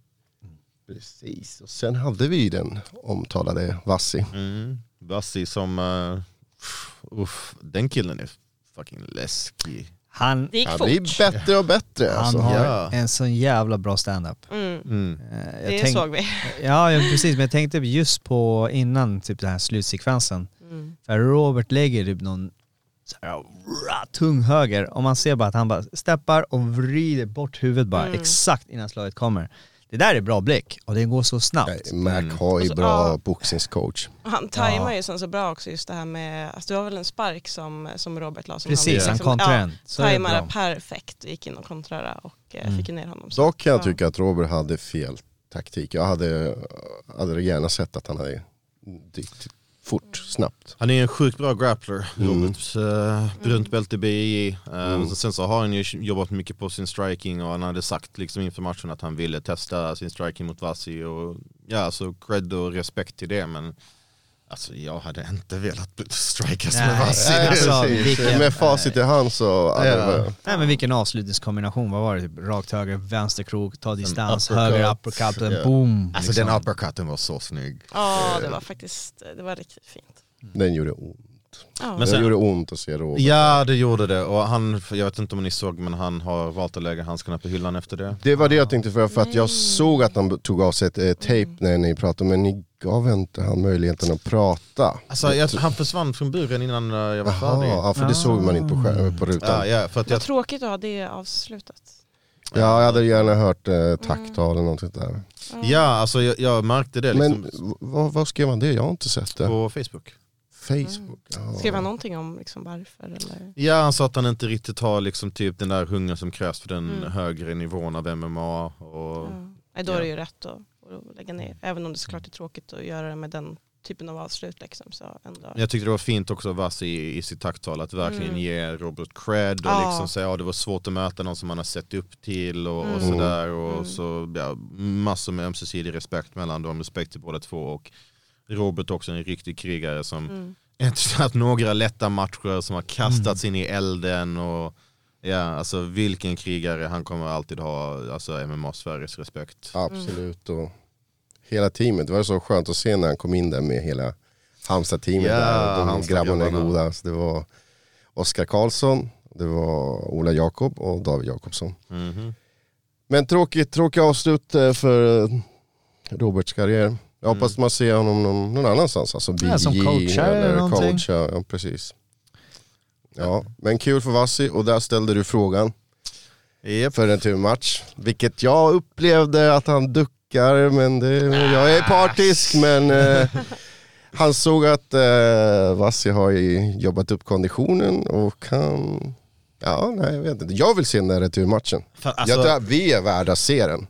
Precis, och sen hade vi den omtalade Vassi. Mm. Bassi som, eh, pff, uff, den killen är fucking läskig. Han, Det gick Han fort. blir bättre och bättre alltså. han har ja. en sån jävla bra standup. Mm, Mm. Eh, jag det tänk- såg vi. Ja, ja, precis. Men jag tänkte just på innan typ den här slutsekvensen. Mm. För Robert lägger typ någon så här, rah, tung höger och man ser bara att han bara steppar och vrider bort huvudet bara exakt innan slaget kommer. Det där är bra blick och det går så snabbt. Nej, Mac har ju Alltså, bra ja. boxningscoach. Och Han tajmar ju sen så bra också just det här med, alltså det var väl en spark som, som Robert la som Precis, han liksom, kontrar den. Så är det tajmade bra. perfekt, gick in och kontrade och eh, fick ju ner honom. Så. Dock kan jag Ja. tycka att Robert hade fel taktik. Jag hade, hade gärna sett att han hade dykt fort, snabbt. Han är en sjukt bra grappler, Mm. Robert. Eh, brunt bälte BJJ. Eh, och Sen så har han ju jobbat mycket på sin striking och han hade sagt liksom inför matchen att han ville testa sin striking mot Vassi och ja, så cred och respekt till det men alltså jag hade inte velat strikas med Liksom. Nej. Vassi. Nej, alltså, precis. vilken- Med facit i hand så... hade det Ja. varit- Nej men vilken avslutningskombination, vad var det? Typ Rakt höger, vänster krok, ta distans, uppercut. höger uppercut, Ja. en boom. Alltså liksom. den uppercutten var så snygg. Ja, det var faktiskt, det var riktigt fint. Den gjorde ont. Ja. Den sen- gjorde ont att se Robert. Ja det gjorde det och han, jag vet inte om ni såg men han har valt att lägga handskarna på hyllan efter det. Det var det jag tänkte för, för att Mm. jag såg att han tog av sig ett eh, tejp när ni pratade men ni gav inte han möjligheten att prata. Alltså jag, han försvann från buren innan eh, jag var Jaha, färdig. ja, för det såg man inte på, skär, på Ja, rutan. ja, för att jag Vad tråkigt att ha det avslutat. Ja, jag hade gärna hört eh, tacktal eller något sånt där. Ja, alltså jag, jag märkte det liksom Men v- vad, vad skrev han det? Jag har inte sett det. på Facebook. Facebook? Ja. Mm. Skrev han någonting om liksom varför eller? Ja, han sa att han inte riktigt har liksom typ den där hungern som krävs för den högre nivån av MMA. Och, Ja. Nej, då är det ju rätt att, att lägga ner, även om det såklart är tråkigt att göra det med den typen av avslut liksom. Så ändå. Jag tyckte det var fint också Vass i, i sitt tacktal att verkligen Mm. ge Robert cred och Ja. liksom säga att det var svårt att möta någon som han har sett upp till och, och Mm. sådär. Och Mm. så ja, massor med ömsesidig respekt mellan dem, respekt till båda två. Och Robert också en riktig krigare som Mm. inte (laughs) haft några lätta matcher som har kastats in i elden och ja, alltså vilken krigare, han kommer alltid ha alltså, MMA-Sveriges respekt. Absolut. Och hela teamet, det var så skönt att se när han kom in där med hela Halmstad-teamet. Ja, där. De Halmstad-grabbarna. grabbarna är goda. Så det var Oskar Karlsson, det var Ola Jakob och David Jakobsson. Mhm. Men tråkigt, tråkigt avslut eh, för eh, Roberts karriär. Jag hoppas man ser honom någon, någon annanstans, alltså BJ Mm. Ja, som coach här eller eller någonting. coach. Ja, ja, precis. Ja, men kul för Vassi och där ställde du frågan Japp. för en turmatch. Vilket jag upplevde att han duckar, men det, jag är partisk. (laughs) Men eh, han såg att eh, Vassi har ju jobbat upp konditionen och han... Ja, nej jag vet inte. Jag vill se den där returmatchen. Fan, Jag tror alltså, att vi är värda att se den.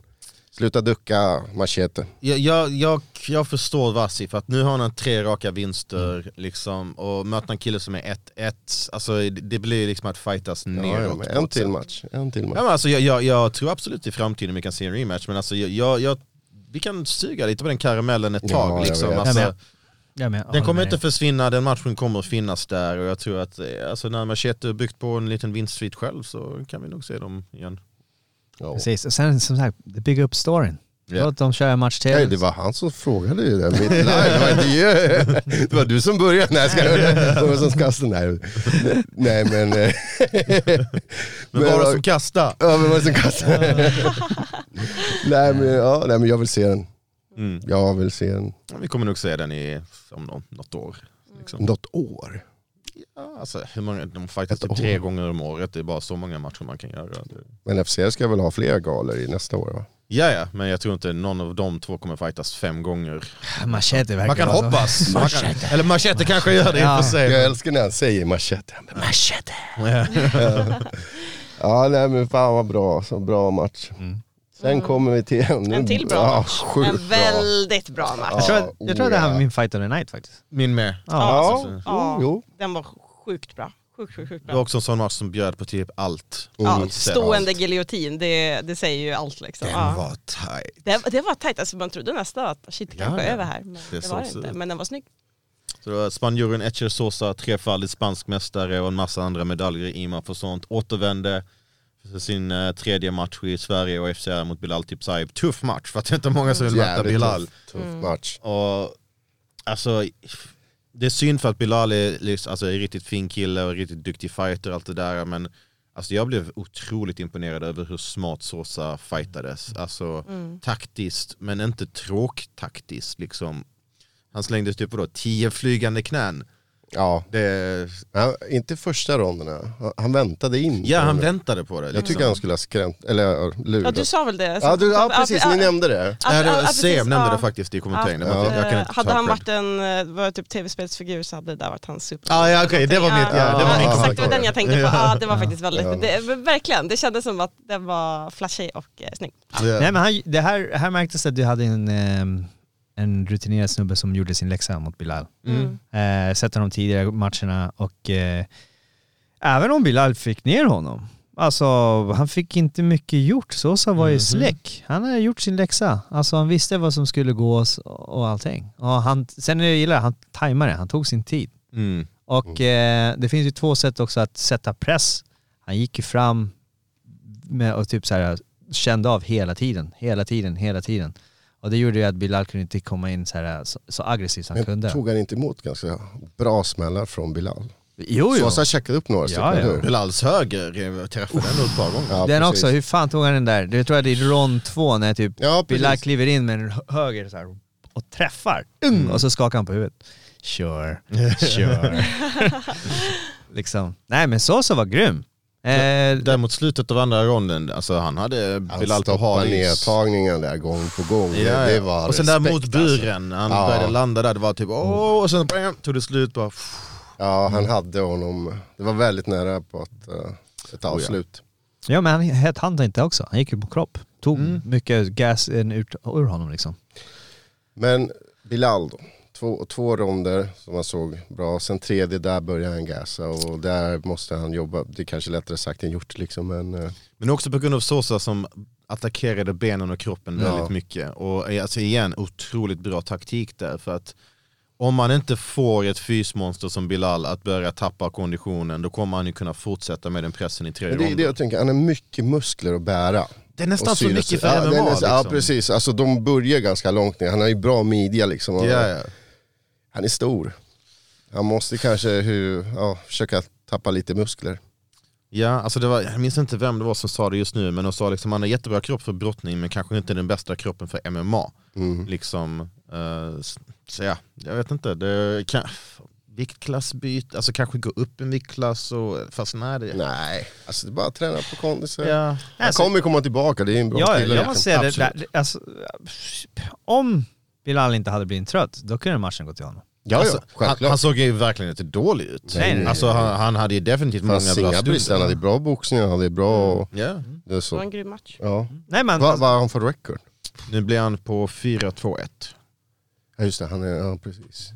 Sluta ducka machete. jag, jag, jag, jag förstår Vassi för att nu har han tre raka vinster Mm. liksom, och möter en kille som är 1-1, alltså, det- det blir liksom att fightas Ja, neråt. ja, men på en ett till sätt. match. En till Ja, match. men alltså, jag, jag, jag tror absolut i framtiden vi kan se en rematch, men alltså, jag, jag, jag, vi kan suga lite på den karamellen ett Ja, tag. jag liksom. vet. alltså, Jag med. Ja, men jag Den håller kommer med inte dig. försvinna, den matchen kommer att finnas där och jag tror att eh, alltså, när Machete har byggt på en liten vinstsvit själv så kan vi nog se dem igen. Ja. Precis, och sen som sagt, bygga upp storyn. Ja. Låt dem köra en match till. Nej, det var han som frågade ju det. Mitt live, det, var inte jag. (laughs) det var du som började. Nej, jag ska, (laughs) det var som kastade. Nej, nej men... eh, Men, Men bara vad- som kasta! Ja, men vad som kastade. (laughs) nej, men, ja, nej, men jag vill se den. Mm. Jag vill se den. Ja, Vi kommer nog se den i, om nå- något år. Liksom. Något år. Ja, alltså, hur många, de fightas typ tre gånger om året, det är bara så många matcher man kan göra. Det- Men FCL ska väl ha fler galor i nästa år va? Ja, ja, men jag tror inte någon av de två kommer fightas fem gånger. Machete verkar Man kan vara så. hoppas. Man kan, eller Machete kanske gör det i och Ja. för sig. Jag älskar när han säger machete. Han bara, Machete! ja nej men fan vad bra, så bra match. Mm. Sen kommer vi till en, En till bra ja, match. Sjukt En väldigt bra match. Ja. Jag tror, att- jag tror att det här oh, Ja. var min fight of the night faktiskt. Min med. bra. Ja, Ja, ja. jo, jo. Den var sjukt bra. Sjukt, sjukt, sjukt Det var bra. också en sån match som bjöd på typ allt. Ja, Allt. stående giljotin, det, det säger ju allt liksom. Den Ja. var tight. Det, det var tajt, alltså, man trodde nästan att shit, det kanske Ja, ja. är över här. Men det, såg var det så inte, ut. men den var snygg. Så det var Spanjoren Echer Sosa, trefaldig spansk mästare och en massa andra medaljer i IMA för sånt. Återvände för sin eh, tredje match i Sverige och FCR mot Bilal Tipsaib. Tuff match för att det är inte många som vill möta Jävligt Bilal. tuff, Mm. tuff match. Och alltså, det är synd för att Bilal är, liksom, alltså, är en riktigt fin kille och en riktigt duktig fighter och allt det där. Men alltså, jag blev otroligt imponerad över hur smart Sosa fightades. Alltså Mm. taktiskt, men inte tråktaktiskt. Liksom. Han slängde typ vadå, tio flygande knän. Ja, Det, Ja, inte första ronderna. Han väntade in. ja, han väntade på det. Liksom. Jag tycker han skulle ha skrämt, eller ja, Ja, lurat. du sa väl det? Ja, du, ja precis, ni nämnde det. att- Ja, Äh, det var- att- att Seb precis, nämnde ja. det faktiskt i kommentaren. Att, Det var inte- jag kan eh, inte hade ta han cred. varit en eh, var typ tv-spelsfigur så hade det där varit hans super. Ah, ja, okej, det var mitt. Ja, det var Ja, min exakt, kommentar. det var den jag tänkte på. Ja. Ja, det var faktiskt väldigt, Ja. det, men verkligen, det kändes som att den var flashig och eh, snygg. Ja. Ja. Nej men han, det här, här märktes att du hade en, ehm, en rutinerad snubbe som gjorde sin läxa mot Bilal. Mm. Eh, sett honom tidigare matcherna och eh, även om Bilal fick ner honom, alltså han fick inte mycket gjort. Sosa var ju släck. Han hade gjort sin läxa. Alltså han visste vad som skulle gås och allting. Och han, sen jag gillar det, han tajmade, han tog sin tid. Mm. Och eh, det finns ju två sätt också att sätta press. Han gick ju fram med, och typ så här, kände av hela tiden, hela tiden, hela tiden. Och det gjorde ju att Bilal kunde inte komma in så, här, så, så aggressivt han Men kunde. tog han inte emot ganska bra smällar från Bilal? Jo, jo. Sosa checkade upp några stycken, ja. eller hur? Bilals höger eh, träffade den nog ett par gånger. Ja, den precis. också, hur fan tog han den där? Det tror jag det är rond två när typ Ja, Bilal precis. kliver in med en hö- höger så här, och träffar. Mm. Och så skakar han på huvudet. Sure, (laughs) sure. liksom. Nej men Sosa var grym. Eh, Där mot slutet av andra ronden, alltså han hade Bilal Han stoppade Tohari. nedtagningen där gång på gång. Ja, ja. Det, det var och sen där respekt, alltså. mot buren, han Ja. Mm. började landa där, det var typ åh, och sen bam, tog det slut bara. pff. Alltså. Ja, Mm. han hade honom. Det var väldigt nära på ett, eh, Oh, ett avslut. Ja men han hette han inte också. Han gick ju på kropp. Tog mycket gas in ut, ur honom liksom. Men Bilal då. Två, två ronder som man såg bra. Sen tredje, där började han gasa och där måste han jobba. Det är kanske lättare sagt än gjort liksom. Men, eh, Men också på grund av Sosa som attackerade benen och kroppen Ja. väldigt mycket. Och eh, alltså igen, otroligt bra taktik där för att om man inte får ett fysmonster som Bilal att börja tappa konditionen, då kommer han ju kunna fortsätta med den pressen i tredje men det är ronden. det jag tänker, han har mycket muskler att bära. Det är nästan Och så synas- mycket för ja, MMA. det är nästan- Ja liksom. precis, alltså de börjar ganska långt ner. Han har ju bra midja liksom. Och Ja, ja. Han är stor. Han måste kanske hur, ja, försöka tappa lite muskler. Ja, alltså det var, jag minns inte vem det var som sa det just nu, men de sa liksom han har jättebra kropp för brottning men kanske inte den bästa kroppen för MMA. Mm. Liksom, eh, s- så ja, jag vet inte. Det kan, viktklassbyte, alltså kanske gå upp en viktklass, och, fast nej. Det, Nej, alltså det är bara att träna på kondis. Ja. Han kommer komma tillbaka, det liksom är en bra Alltså- Ja, kille. jag måste säga det, Absolut. där, alltså, om Bilal inte hade blivit trött, då kunde matchen gå till honom. ja, ja, Alltså, han, självklart. han såg ju verkligen inte dålig ut. Nej, nej, alltså, nej. han, han hade ju definitivt Han många hade bra inga brister, han hade stunder. bra boxning, han hade Mm. bra... Ja. Det är Det var så. en grym match. Ja. Nej men, alltså, Vad vad har han för record? Nu blir han på 4-2-1. Ja just det, han är, ja precis.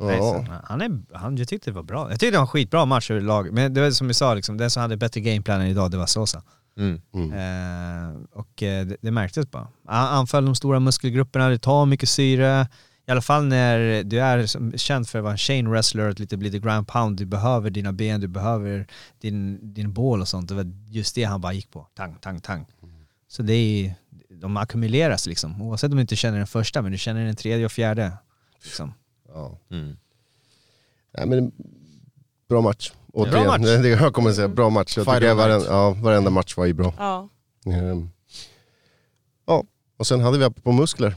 nej, Ja. så- han är, han, jag tyckte det var bra. Jag tyckte det var en skitbra match överlag. Men det var som vi sa, liksom, den som hade bättre gameplan än idag, det var Sosa. Mm. Mm. Eh, och eh, det, det märktes bara. Han anföll de stora muskelgrupperna, det tar mycket syre. I alla fall när du är som, känd för att vara en chain wrestler, att lite bli the ground pound, du behöver dina ben, du behöver din, din bål och sånt. Det var just det han bara gick på. Tang, tang, tang. Mm. Så det är, de ackumuleras liksom. Oavsett om du inte känner den första, men du känner den tredje och fjärde. Liksom. Ja. Mm. Nej, men bra match. Återigen. Bra match. (laughs) Det, det jag kommer att säga, bra match. Jag Fight tycker of the varen, night. ja, varenda match var ju bra. Ja. Ehm. Ja, och sen hade vi på muskler.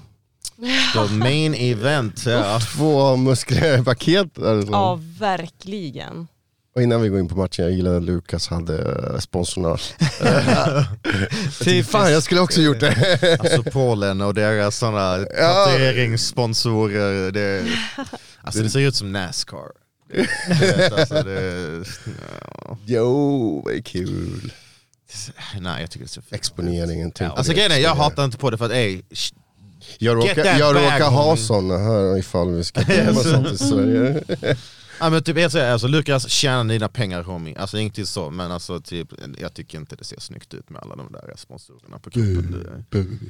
The main event. Ja. Två muskulära (laughs) paket. Alltså. Ja, verkligen. Och innan vi går in på matchen, jag gillade att Lukas hade eh, sponsornage. (laughs) Fy fan, jag skulle också gjort (laughs) det. Alltså Polen och deras sådana tatueringssponsorer. Det, alltså det ser ut som Nascar. Du vet, alltså, det, Jo, vad kul. nej jag tycker det ser fint Exponeringen. Typ. Alltså grejen är, jag hatar inte på det för att ey, sh- Jag Get råkar, that jag bag, råkar ha homie. sådana här ifall vi (laughs) ska komma sånt till Sverige. ja, men typ, jag säger, alltså, Lukas tjäna dina pengar homie, alltså ingenting så men alltså typ, jag tycker inte det ser snyggt ut med alla de där sponsorerna på kroppen. Mm. Det-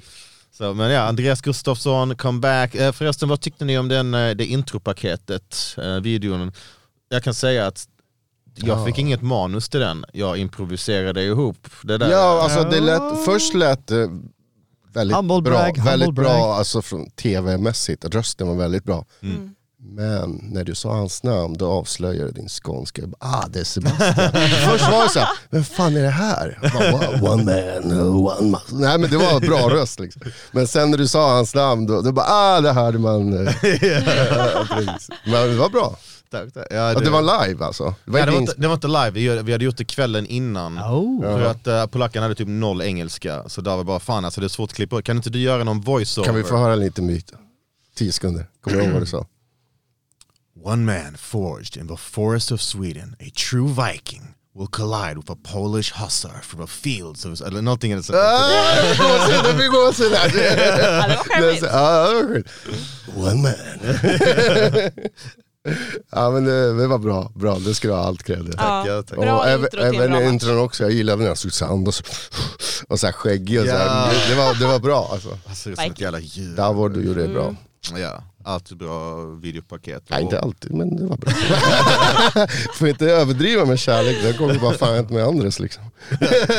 Så, men ja, Andreas Gustafsson, comeback. Eh, förresten, vad tyckte ni om den, eh, det intropaketet, eh, videon? Jag kan säga att jag Ja. fick inget manus till den, jag improviserade ihop det där. Ja, alltså det lät, först lät det väldigt Humble bra, brag, humble väldigt bra brag. alltså från tv-mässigt, rösten var väldigt bra. Mm. Men när du sa hans namn då avslöjade din skånska, Jag bara, ah det är Sebastian. (laughs) först var det såhär, vem fan är det här? Jag bara, "Wow, one man, one man. Nej men det var en bra röst liksom. Men sen när du sa hans namn då, då bara, ah det hörde man. (laughs) eh." Ja, precis. men det var bra. Tack, tack. Ja, det var live alltså. Det var Nej, det, var inte inte, det var inte live, vi, gjorde- vi hade gjort det kvällen innan. Oh. För att uh, polackerna hade typ noll engelska, så där var bara fan alltså det är svårt att klippa Kan inte du göra någon voiceover? Kan vi få höra en liten myt? Tio sekunder, kommer du ihåg vad du sa? One man forged in the forest of Sweden, a true viking, will collide with a Polish hussar from the fields of... Eller någonting eller så. Ah! Det blir gåshud här. Ja, det var charmigt. Ja, det var sjukt. One man. (laughs) Ja men eh, det, det var bra, bra. Det ska du ha allt cred. Ja, bra även, intro till en bra även match. intron också, jag gillade när han stod såhär andas och såhär skäggig och såhär. Det, var, det var bra alltså. Alltså det är som ett jävla djur. Davor du gjorde det Mm. bra. Ja, allt bra videopaket. Nej inte alltid men det var bra. (laughs) Får inte överdriva med kärlek, då kommer vi bara fan inte med Andres liksom.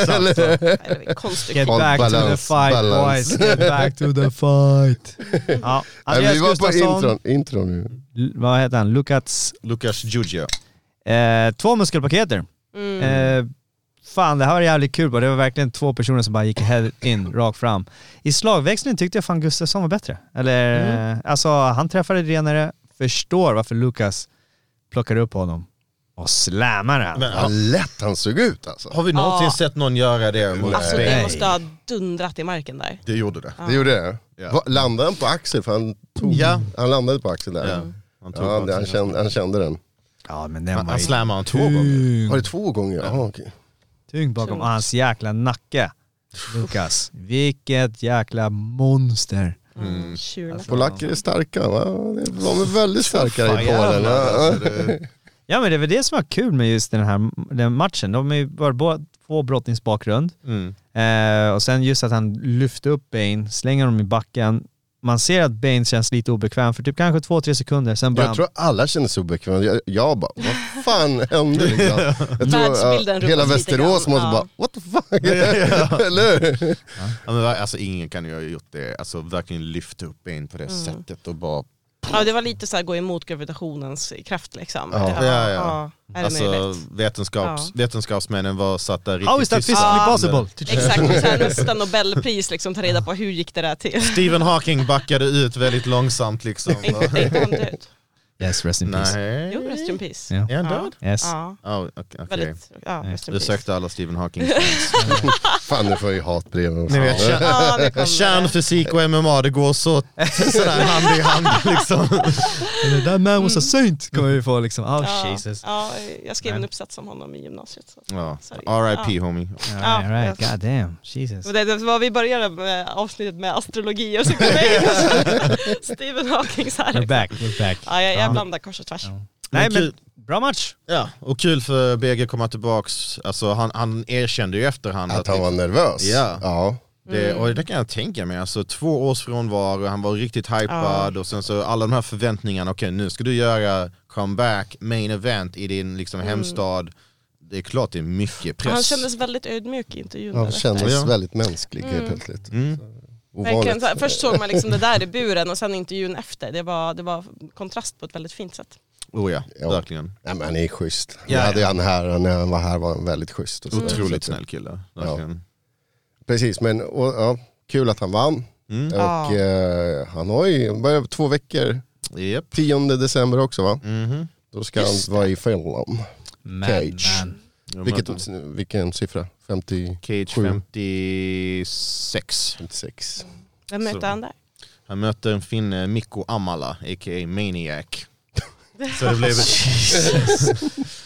Eller? Det var Konstigt. Get Håll back to the balans, fight balans. boys, get back to the fight. Ja, (laughs) Nej, Andreas vi var på Gustafsson, intron, intron nu. L- vad heter han, Lukats, Lukas Giugio. eh, två muskelpaketer. Mm. Eh, fan, det här var jävligt kul bara. Det var verkligen två personer som bara gick head in, rakt fram. I slagväxlingen tyckte jag fan Gustafsson var bättre. Eller, eh, alltså han träffade renare, förstår varför Lukas plockar upp honom och slammar han. Men Vad har, lätt han såg ut alltså. har vi någonsin Ja. sett någon göra det mot Alltså det Spanien? måste ha dundrat i marken där. Det gjorde det. Det gjorde det? Ja. Va, landade han på axel? För han, tog, Ja. han landade på axel där. Ja. Ja. Han, tog Han, bara- han, kände, han kände den. Ja men den han, var han ju slammade honom två gånger. Var det två gånger? Jaha, okej. tyngd bakom hans jäkla nacke. Lukas, vilket jäkla monster. Mm. Tjurna. Polacker är starka va? De är väldigt starka i Polen. jävlar, va? alltså, det- Ja men det är väl det som var kul med just den här den matchen. De är ju bara båda två brottningsbakgrund. (laughs) Mm. Eh, och sen just att han lyfter upp Bane, slänger honom i backen. Man ser att Bane känns lite obekväm för typ kanske två, tre sekunder, sen bara... Jag tror alla känner sig obekväma. Jag, jag bara, vad fan (laughs) hände liksom? Jag tror, Världsbilden ja, rubbas hela lite Västerås grann, måste ja. bara, what the fuck? (laughs) (laughs) Eller hur? Ja, men, alltså, ingen kan ju ha gjort det, alltså verkligen lyft upp in på det Mm. sättet och bara... Ja, det var lite så här gå emot gravitationens kraft liksom. Ja. Det här Ja, var- ja. Är det Alltså, möjligt? vetenskaps, vetenskapsmännen var satta riktigt How is that tysta. physically Ja. possible? Typ Exakt, och sen nästa nobelpris liksom ta reda på hur gick det där till. Stephen Hawking backade ut väldigt långsamt (laughs) liksom. Och- Tänkte han dö ut? Yes, rest in peace. Nej. Jo, rest in peace. Ja. Är han död? Yes. Ja, Ja, okej. okej. väldigt, ja, rest in Vi peace. sökte alla Stephen Hawking fans. Fan nu får jag ju hatbrev. och (laughs) Ni fan. vet, kär, Ja, det kom det. kärnfysik och MMA, det går (laughs) så sådär hand i hand liksom. And That man was a saint kommer vi få liksom. Oh Mm. Ja, Jesus. ja, jag skrev en Nej. uppsats om honom i gymnasiet. Så. Ja. Sorry. R.I.P. homie. All right, right. yes. God damn. Jesus. Men Det det var vi började med avsnittet med astrologi och så kom jag in (laughs) och så- Stephen Hawking så We're här. back, we're back. Ja, jag, Ja. jag blandar kors och tvärs. Nej men, kul. bra match. Ja, och kul för BG att komma tillbaks. Alltså, han, han erkände ju i efterhand Att han var nervös. Ja. ja. Det, och det kan jag tänka mig, alltså två års frånvaro, han var riktigt hypad och sen så alla de här förväntningarna, okej nu ska du göra comeback, main event i din liksom, hemstad. Det är klart det är mycket press. Han kändes väldigt ödmjuk i intervjun. Han där. kändes Ja. väldigt mänsklig helt plötsligt. Mm. Verkligen. Ovanligt. Så här, Först såg man liksom det där i buren och sen intervjun efter. Det var, det var kontrast på ett väldigt fint sätt. Oh ja, Ja. verkligen. Nej, men han är schysst. Ja, Jag hade ja. han här, och när han var här var han väldigt schysst. Och så där. Otroligt Så att- snäll kille. Verkligen. Precis, men och, ja, kul att han vann. Mm. Och eh, han har ju, han börjar på två veckor, Yep. 10 december också va? Mhm. Då ska han vara i Finland. Men, Cage. men. Vilket, vilken siffra? 50, Cage Sju. 56. (laughs) 56. Vem Så. mötte han där? Han möter en finne, Mikko Amala, a.k.a. Maniac. Så (laughs) det blev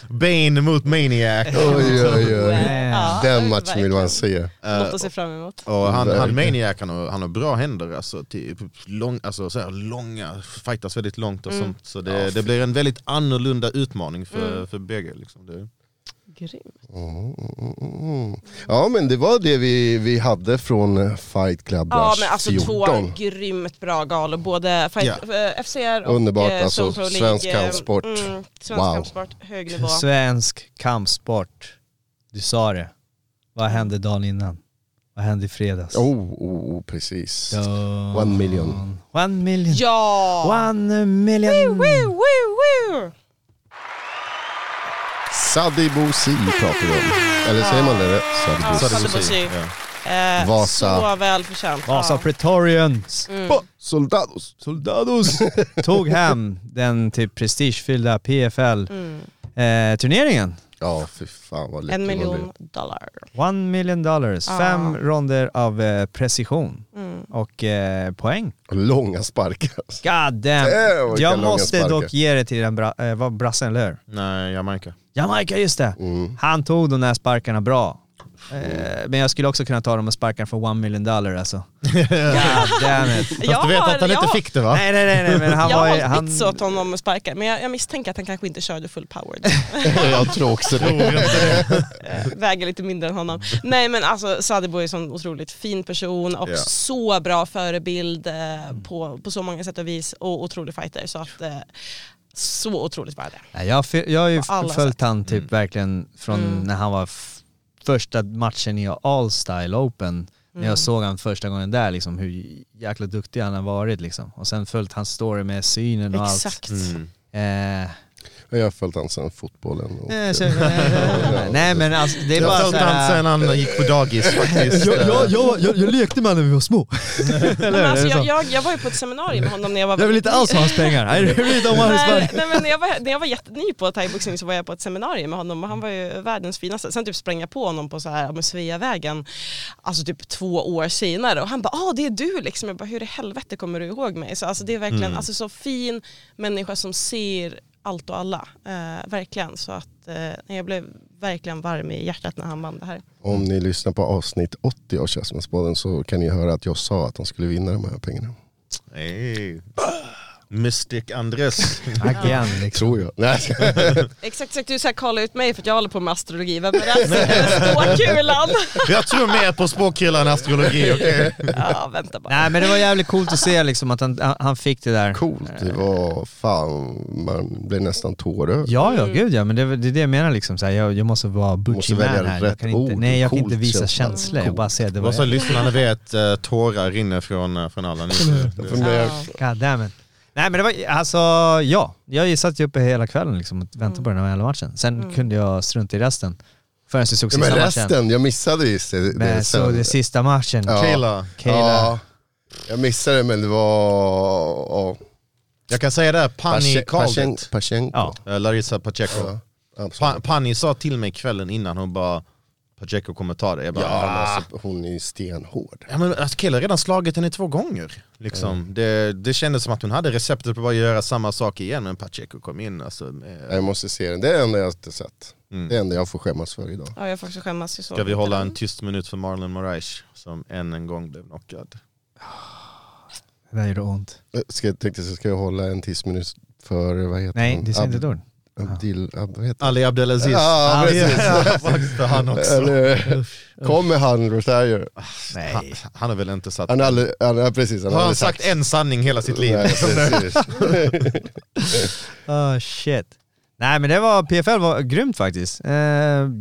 Bane mot Maniac. Oj, oj, oj. Ja, Den matchen verkligen. vill man se. Eh, Något att se fram emot. och han, han Verkligen. Maniac, han har, han har bra händer. Alltså, typ, lång, alltså, så här, långa, fightas väldigt långt och sånt. Så det, det blir en väldigt annorlunda utmaning för, för bägge. Liksom. Det, Grym. Mm. Ja men det var det vi, vi hade från Fight Club Ja Bash men alltså 14. två grymt bra galor, både fight, eh, FCR och Underbart, eh, alltså, Zone Pro League. svensk Eh, kampsport. Mm, svensk Wow. kampsport, hög nivå. Svensk kampsport. Du sa det. Vad hände dagen innan? Vad hände i fredags? Oh, oh, oh, precis. Dun. One million. One million. Ja! One million. Woo, woo, woo. Sadi Bouzi pratar vi om. Eller säger man det rätt? Sadi Ja, Bouzi. Sadi Bouzzi. Eh, Vasa. Så välförtjänt. Vasa Ja. Pretorians Mm. Soldados. Soldados (laughs) tog hem den typ prestigefyllda Mm. eh, PFL-turneringen. (laughs) Ja, fy fan vad läcker En man miljon blir. dollar. One million dollars, Ja. fem ronder av eh, precision Mm. och eh, poäng. Långa sparkar. alltså. God damn. Damn, Eh, vilka Jag långa måste sparkar. dock ge det till den bra, eh, vad brassen, eller hur? nej, Jamaica. Jamaica, just det. Mm. Han tog de där sparkarna bra. Eh, men jag skulle också kunna ta de här sparkarna för one million dollar (laughs) alltså. God damn it. Fast du vet att han inte fick det va? Nej, nej, nej, nej men han jag var har ju... hållit Han, bits åt honom och sparkat men jag, jag misstänker att han kanske inte körde full power. Jag tror också det. Eh, väger lite mindre än honom. Nej men alltså Sadebo är en sån otroligt fin person och Ja. så bra förebild eh, på, på så många sätt och vis och otrolig fighter. Så att, eh, så otroligt värde. Nej, jag, har fe- jag har ju På alla Mm. följt han typ verkligen från när han var f- första matchen i All Style Open. När Mm. jag såg han första gången där liksom hur jäkla duktig han har varit liksom. Och sen följt hans story med synen och allt. Exakt. Eh, Jag har följt han sedan fotbollen. Och, Eh, nej, så- nej, nej, nej, nej. (laughs) nej men alltså det är Jag bara följde han såhär... sen han gick på (laughs) dagis faktiskt. jag, jag, jag lekte med honom när vi var små. Nej, men alltså, det så? jag, jag, jag var ju på ett seminarium med honom när jag var Jag vill inte alls ha hans pengar. Nej, jag vill inte ha hans Nej, pengar. nej, men när, jag var, när jag var jätteny på thaiboxning så var jag på ett seminarium med honom och han var ju världens finaste. Sen typ sprang jag på honom på så här, ja, men Sveavägen, alltså typ två år senare och han bara ah det är du liksom. Jag bara hur i helvete kommer du ihåg mig? Så alltså, det är verkligen Mm. alltså, så fin människa som ser allt och alla. Eh, verkligen. Så att eh, jag blev verkligen varm i hjärtat när han vann det här. om ni lyssnar på avsnitt 80 av Käftsmällspodden så kan ni höra att jag sa att de skulle vinna de här pengarna. Hey. Mystic Andres. Again, liksom. Tror jag. Nej. Exakt, exakt du så här, kallar ut mig för att jag håller på med astrologi. Vem är (laughs) det? Spåkulan! Jag tror mer på spåkillar än astrologi. okej? ja, vänta bara. Nej men det var jävligt coolt att se liksom att han, han fick det där. Coolt, det var fan, man blev nästan tårögd. Ja, ja, gud ja. Men det, är- det är det jag menar liksom. Så här, jag, jag måste vara Måste butchy man välja här. rätt Jag kan inte, ord. nej, jag kan Coolt inte visa känns det. känslor. Jag bara säger det Bara så var lyssnarna vet, eh, tårar rinner från, eh, från alla nu. För mig- God damn it. Nej men det var, alltså ja. Jag satt ju uppe hela kvällen liksom och väntade på den här jävla matchen. Sen kunde jag strunta i resten. Förrän vi såg Ja, men sista matchen. resten, jag missade just det. Men jag såg sen. det sista matchen. Ja. Kayla. Kayla. Ja, jag missade men det var... Ja. Jag kan säga det, här, Pani Pashe- called Pashen- it. Pashenko. Ja. Eh, Larissa Pacheco. Ja, absolut. Pa Pani sa till mig kvällen innan, hon bara Pacheco kommer ta det. Jag bara, Ja, men "Ah." alltså, hon är ju stenhård. Ja men alltså, Kayla har redan slagit henne två gånger. Liksom. Det, det kändes som att hon hade receptet på att bara göra samma sak igen, men Pacheco kom in. Alltså, med, Jag måste se den, det är det enda jag inte sett. Mm. Det är det enda jag får skämmas för idag. Ja, jag får också skämmas. Jag såg Ska vi inte hålla den. en tyst minut för Marlon Moraes som än en gång blev knockad? Det där gjorde ont. Jag Eh, Ska, jag tänkte så ska jag hålla en tyst minut för, vad heter Nej, han? det säger inte ett Ab- ord. Abdil, Ab, vad heter Ali Abdelaziz. Ja, precis. (laughs) faktiskt, för han också. Eller, kommer han Rosario? Han, han har väl inte satt... Han har aldrig, han, ja, precis. Han har han aldrig sagt en sanning hela sitt liv? (laughs) Nej, precis. Oh shit. Nej men det var, PFL var grymt faktiskt. Eh,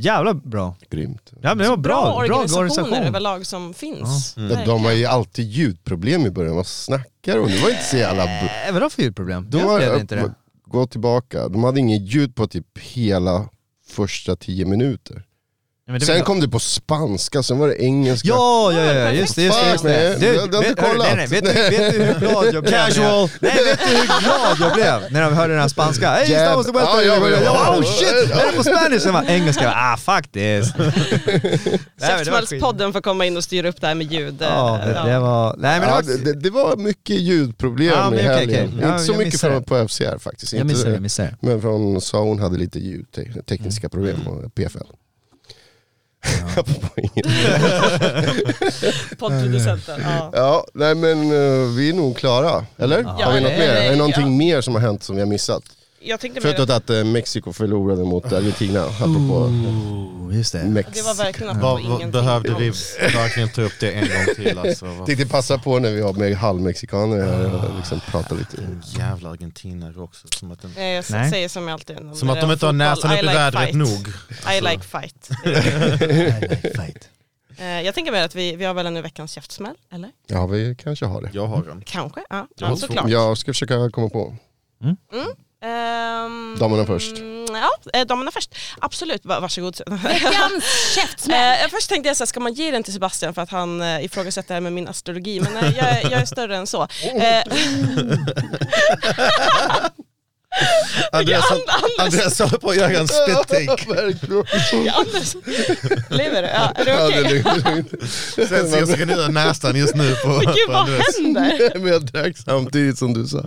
jävla bra. Grymt. Ja men det var bra. bra, Bra organisationer organisation. överlag som finns. De, de har ju alltid ljudproblem i början, vad snackar hon? Det var inte så jävla... bu- Äh, vadå för ljudproblem? De jag har- upplevde inte det. Gå tillbaka, de hade ingen ljud på typ hela första tio minuter. men det Sen vet- kom det på spanska, sen var det engelska. Ja, ja, ja, just det, just det. Just Fuck, nej, det. det har jag inte vet, hörru, kollat. nej, nej, vet, du, vet du hur glad jag blev? när jag- Casual. Nej, vet du hur glad jag blev när jag hörde den här spanska? Hey, Jab. estamos de vuelta. Ja, ja, jag ja, bara, ja. oh shit, är det på spanish? Jag bara, engelska, Jag bara, ah fuck (laughs) this. Nej, men det var skit. Käftsmällspodden får komma in och styra upp det här med ljud. Ja, Eh, det, det var... Nej men det Ja, var... det, det, det var mycket ljudproblem Ja, men i okej, helgen. okej. Ja, Inte så jag mycket missar från, det. på FCR faktiskt. Jag Inte- missar det, jag missar det. Men från Saon hade lite ljudtekniska problem och PFL. Apropå inget. Poddproducenten. Ja. ja, nej men eh, vi är nog klara, eller? Ja, har vi något det- mer? Är det någonting ja. mer som har hänt som vi har missat? Jag tänkte mer Förutom att eh, Mexiko förlorade mot Argentina, apropå Oh, Just det. det Mexiko. var verkligen Vad- att det var vad- ingenting behövde vi alls. verkligen ta upp det en gång (laughs) till alltså? Vad Tänkte passa på när vi har med halvmexikaner här och liksom prata lite. jävla argentinare också. Som att, de- Nej, Eh, jag Nej. säger som jag alltid när som att det de är inte har näsan fotboll, upp i I like vädret fight. nog. I like fight. Eh, jag tänker mer att vi, vi har väl en veckans käftsmäll, eller? Ja, vi kanske har det. Jag har en. Kanske? Ja, Jag ja får- såklart. Jag ska försöka komma på. Ehm, Damerna först. mm, Ja, eh, damerna först. Absolut, Va- varsågod. Veckans käftsmäll! Eh, först tänkte jag så här, ska man ge den till Sebastian för att han eh, ifrågasätter det här med min astrologi, men nej, jag, är- jag är större än så. Eh, Andreas, Andreas håller på att (laughs) göra en spit (laughs) take. Anders, lever du? Ja, är det Ja, okej? det är lugnt, det är lugnt. Sen så ska ni göra nästan just nu på, Gud på vad Andreas. händer? Men jag drack samtidigt som du sa.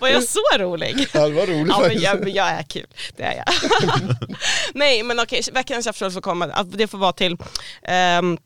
Var jag så rolig? Ja, det var roligt Ja, men faktiskt. jag, men jag är kul, det är jag. (laughs) Nej men okej, veckans käftsmäll får komma, att det får vara till ehm,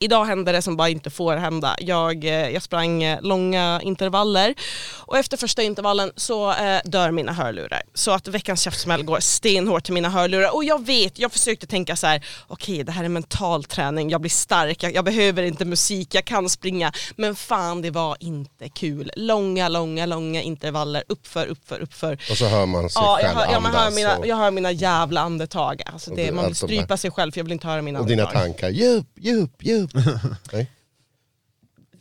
Idag hände det som bara inte får hända. Jag, eh, jag sprang eh, långa intervaller och efter första intervallen så eh, dör mina hörlurar. Så att veckans käftsmäll går stenhårt till mina hörlurar. Och jag vet, jag försökte tänka så här: okej det här är mental träning, jag blir stark, jag, jag behöver inte musik, jag kan springa. Men fan det var inte kul. Långa, långa, långa intervaller, uppför, uppför, uppför. Och så hör man sig Ja, jag själv hör, ja, man hör andas mina, och, jag hör mina jävla andetag. Alltså Och det, du- man vill allt de där. strypa sig själv för jag vill inte höra mina och dina andetag. tankar. Djup, djup, (laughs) djup. Nej.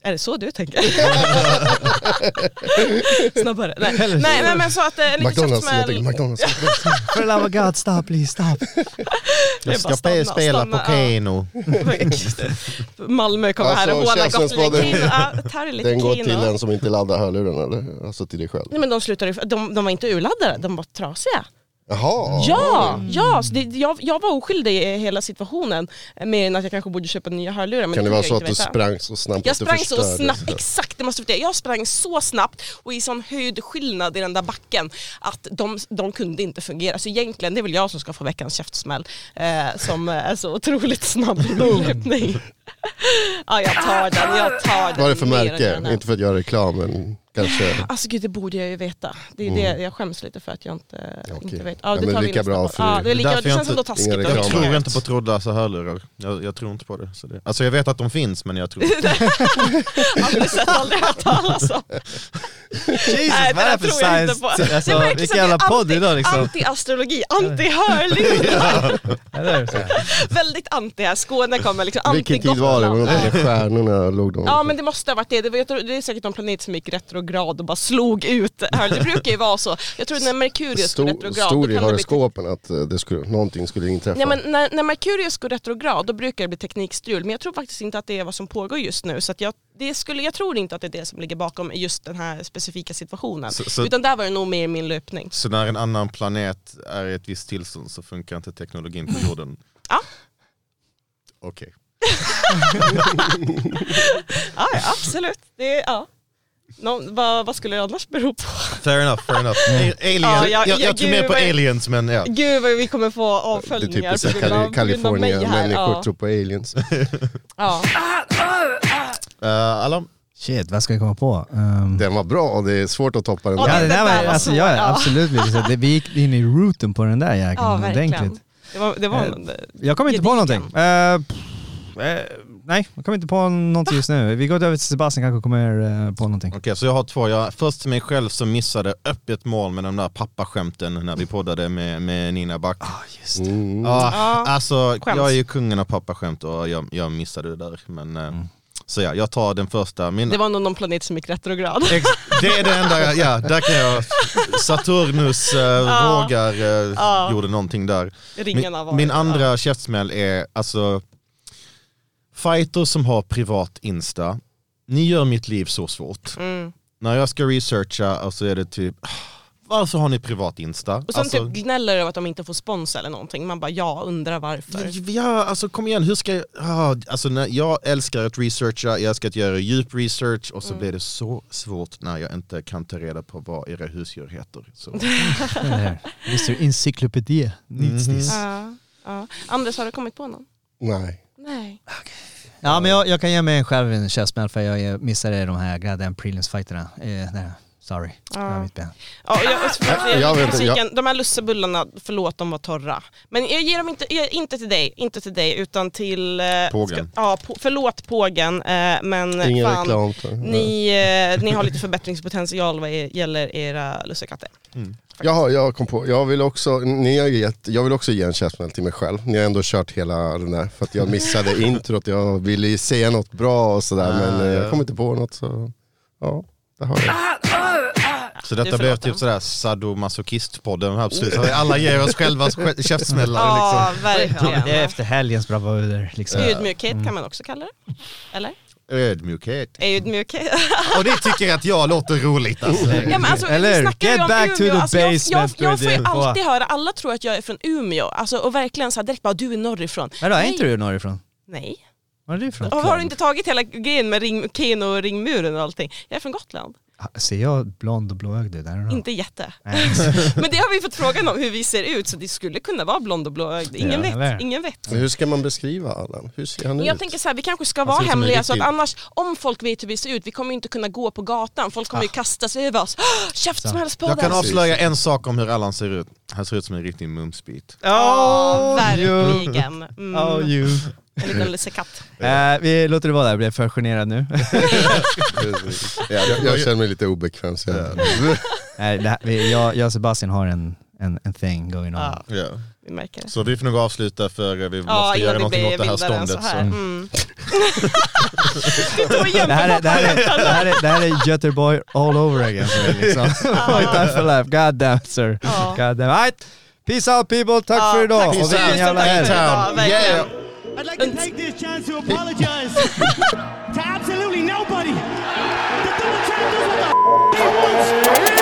Är det så (laughs) du tänker? (laughs) Snabbare. Nej. Nej, nej men så att eh, en liten McDonalds, jag käftsmäll. tänker (laughs) McDonalds. For the love of God, stop please, (laughs) stop. Jag ska stanna, spela stanna, på Keno. Malmö kommer här och Alltså, hånar käftsmällspodden. Gotland. Ja, tar det lite Den går till kino. en som inte laddar hörluren eller? Alltså till dig själv. Nej men de slutade, ju- de, de var inte urladdade, de var trasiga. Jaha. Ja, ja så det, jag, jag var oskyldig i hela situationen. eh, Mer än att jag kanske borde köpa nya hörlurar. Men Kan det vara fick jag så att inte du veta. sprang så snabbt Jag att du sprang så förstörde? snabbt, exakt det måste jag säga. Jag sprang så snabbt och i sån höjdskillnad i den där backen att de, de kunde inte fungera. Så egentligen, det är väl jag som ska få veckans käftsmäll eh, som är så otroligt snabb i min löpning. ja, jag tar den, jag tar den. Vad är det för mer än den märke? här. Inte för att göra reklam men kanske. Alltså gud, det borde jag ju veta. Det är det jag skäms lite för att jag inte, Okej. inte vet. Mm. Ja, det men tar vi lika nästa bra gång. för- Ja, det, är Det lika, är det därför jag känns ändå inte- taskigt. ingen att- Jag reklam. tror inte på trådlösa hörlurar. Jag, jag tror inte på det, så det. Alltså jag vet att de finns men jag tror (laughs) inte. Aldrig sett, aldrig hört talas om. Jesus, Nej, vad det är det där för tror jag inte science? på. Alltså, verkligen vilken så här, jävla det är podd anti- idag liksom. Anti-astrologi, anti-hörlurar. Eller hur? Väldigt anti här, Skåne kommer liksom Vilken tid var det? Var anti-Gotland. det inte Stjärnorna låg de? Ja men det måste ha varit det, det, var, jag tror, det är säkert någon planet som gick retrograd och bara slog ut här. Det brukar ju vara så. Jag tror när Merkurius går Stod, retrograd stod i då kan det bli horoskopen att eh, det skulle, någonting skulle inträffa? Nej, men när, när Merkurius går retrograd då brukar det bli teknikstrul men jag tror faktiskt inte att det är vad som pågår just nu så att jag, det skulle, jag tror inte att det är det som ligger bakom just den här specifika situationen. Så- så- Utan där var det nog mer min löpning. Så när en annan planet är i ett visst tillstånd så funkar inte teknologin på jorden. Ja. Okej. Ja, ja absolut. Det, är- ja. Någon, vad, vad skulle det annars bero på? Fair enough, fair enough. A- Alien. (laughs) Ja, jag- jag, jag, jag- tror mer gud, på vad- aliens men ja. Gud vad vi kommer få det är avföljningar typiskt på grund av- på grund av mig här. Kalifornien-människor Ja. tror på aliens. Ja. Uh, alla, Shit, vad ska jag komma på? Um, Ehm, Den var bra, och det är svårt att toppa den Ja, där. ja, det den där där var, var alltså, svår, jag, ja. absolut, liksom, det, vi gick in i rooten på den där jäkeln ja, verkligen. ordentligt. Det var, det var Mm, Eh, en, Jag kommer inte på Gedigen. någonting. Eh, pff, eh, nej, jag kommer inte på någonting just nu. Vi går över till Sebastian kanske kommer eh, på någonting. Okej, så jag har två. Jag, först mig själv som missade öppet mål med de där pappaskämten när vi poddade med, med Nina Back. Ah, alltså, Mm. Ja, alltså, Skäms. jag är ju kungen av pappaskämt och jag, jag missade det där. Men eh, Så ja, jag tar den första. Min, Det var nog någon planet som gick retrograd. Ex- det är det enda, ja där kan jag, Saturnus, eh, vågar, eh, Ja. gjorde någonting där. Ringen Min, av min andra Ja. käftsmäll är alltså, fighters som har privat Insta, ni gör mitt liv så svårt. Mm. När jag ska researcha alltså är det typ, "Ah, varför har ni privat Insta? Och sen alltså, typ gnäller över att de inte får spons eller någonting. Man bara, ja, undrar varför. Ja, alltså kom igen, hur ska jag... Ah, alltså, när jag älskar att researcha, jag älskar att göra djup research Mm. och så blir det så svårt när jag inte kan ta reda på vad era husdjur heter. (laughs) Så. Mr Encyclopedia needs this. Ja, ja. Anders, har du kommit på någon? Nej. Nej. Ja men jag, jag kan ge mig själv en käftsmäll för jag eh, missade de här goddamn prelims-fighterna. Eh, nej, sorry, det var mitt ben. Ja, jag, jag, jag vet inte, musiken, jag- De här lussebullarna, förlåt de var torra. Men jag ger dem inte, jag, inte till dig, inte till dig utan till... eh, Pågen. ja, på, förlåt pågen, eh, men Ingen fan. reklam. för- Ni, eh, ni har lite förbättringspotential vad er- gäller era lussekatter. Jaha, jag kom på. Jag vill också, ni har ju gett, jag vill också ge en käftsmäll till mig själv. Ni har ändå kört hela den där. För att jag (laughs) missade introt. Jag ville ju säga något bra och sådär. Ah, men eh, ja. jag kom inte på något. Så ja, det har (laughs) jag. så Du detta förlåter. Mm. blev typ sådär sadomasochistpodden, absolut. Alla ger oss själva (laughs) sk- käftsmällar. Liksom. Ja, verkligen. Det är efter helgens bravader liksom. Ödmjukhet kan man också kalla det. Eller? Ödmjukhet. (laughs) Ödmjukhet. Och ni tycker att jag låter roligt alltså. Oh. Ja, men alltså, Eller vi hur? snackar ju Get om back to Umeå. the alltså, jag, jag, basement jag with får ju you. alltid höra, alla tror att jag är från Umeå, alltså, och verkligen så här direkt bara du är norrifrån. Vadå, är Nej. inte du norrifrån? Nej. Var är du ifrån? Och har du inte tagit hela grejen med ring, Keno och ringmuren och allting? Jag är från Gotland, Ah, Ser jag blond och blåögd ut? I don't know. inte jätte. (laughs) Nej. Men det har vi fått frågan om hur vi ser ut, så det skulle kunna vara blond och blåögd. Ingen Ja, eller? vet. Ingen vet. Men Hur ska man beskriva Allan? Hur ser han Men ut? jag tänker så här, vi kanske ska ser vara ut som en hemliga så att riktig- annars, om folk vet hur vi ser ut, vi kommer ju inte kunna gå på gatan. Folk Ah. kommer ju kasta sig över oss. (gasps) "Åh, Jag kan Käftsmällspodden! avslöja en sak om hur Allan ser ut. Han ser ut som en riktig mumsbit. Ja, (laughs) verkligen. Mm. Oh, you. En liten lussekatt. Eh, vi låter det vara där, jag blir för generad nu. Ja, jag, jag känner mig lite obekväm. Så jag, Nej, det här, vi, jag, jag och Sebastian har en, en, en thing going on. Ja, vi märker det. Så vi får nog avsluta för eh, vi måste Ja, göra innan det någonting blir åt det här vildare än så ståndet. här. Så. (laughs) Mm. (laughs) Titta vad Det här, är, jämnt det, här är, det, här är, det här är Göteborg all over again för mig, liksom. (laughs) Oj, tack för life. God damn sir. Ja. God damn. All right. Peace out people, tack Ja, för idag. tack Och så vilken mycket. jävla Tack helg. för idag, verkligen. Yeah. I'd like to take this chance to apologize to absolutely nobody that Donald Trump does what the f- he wants.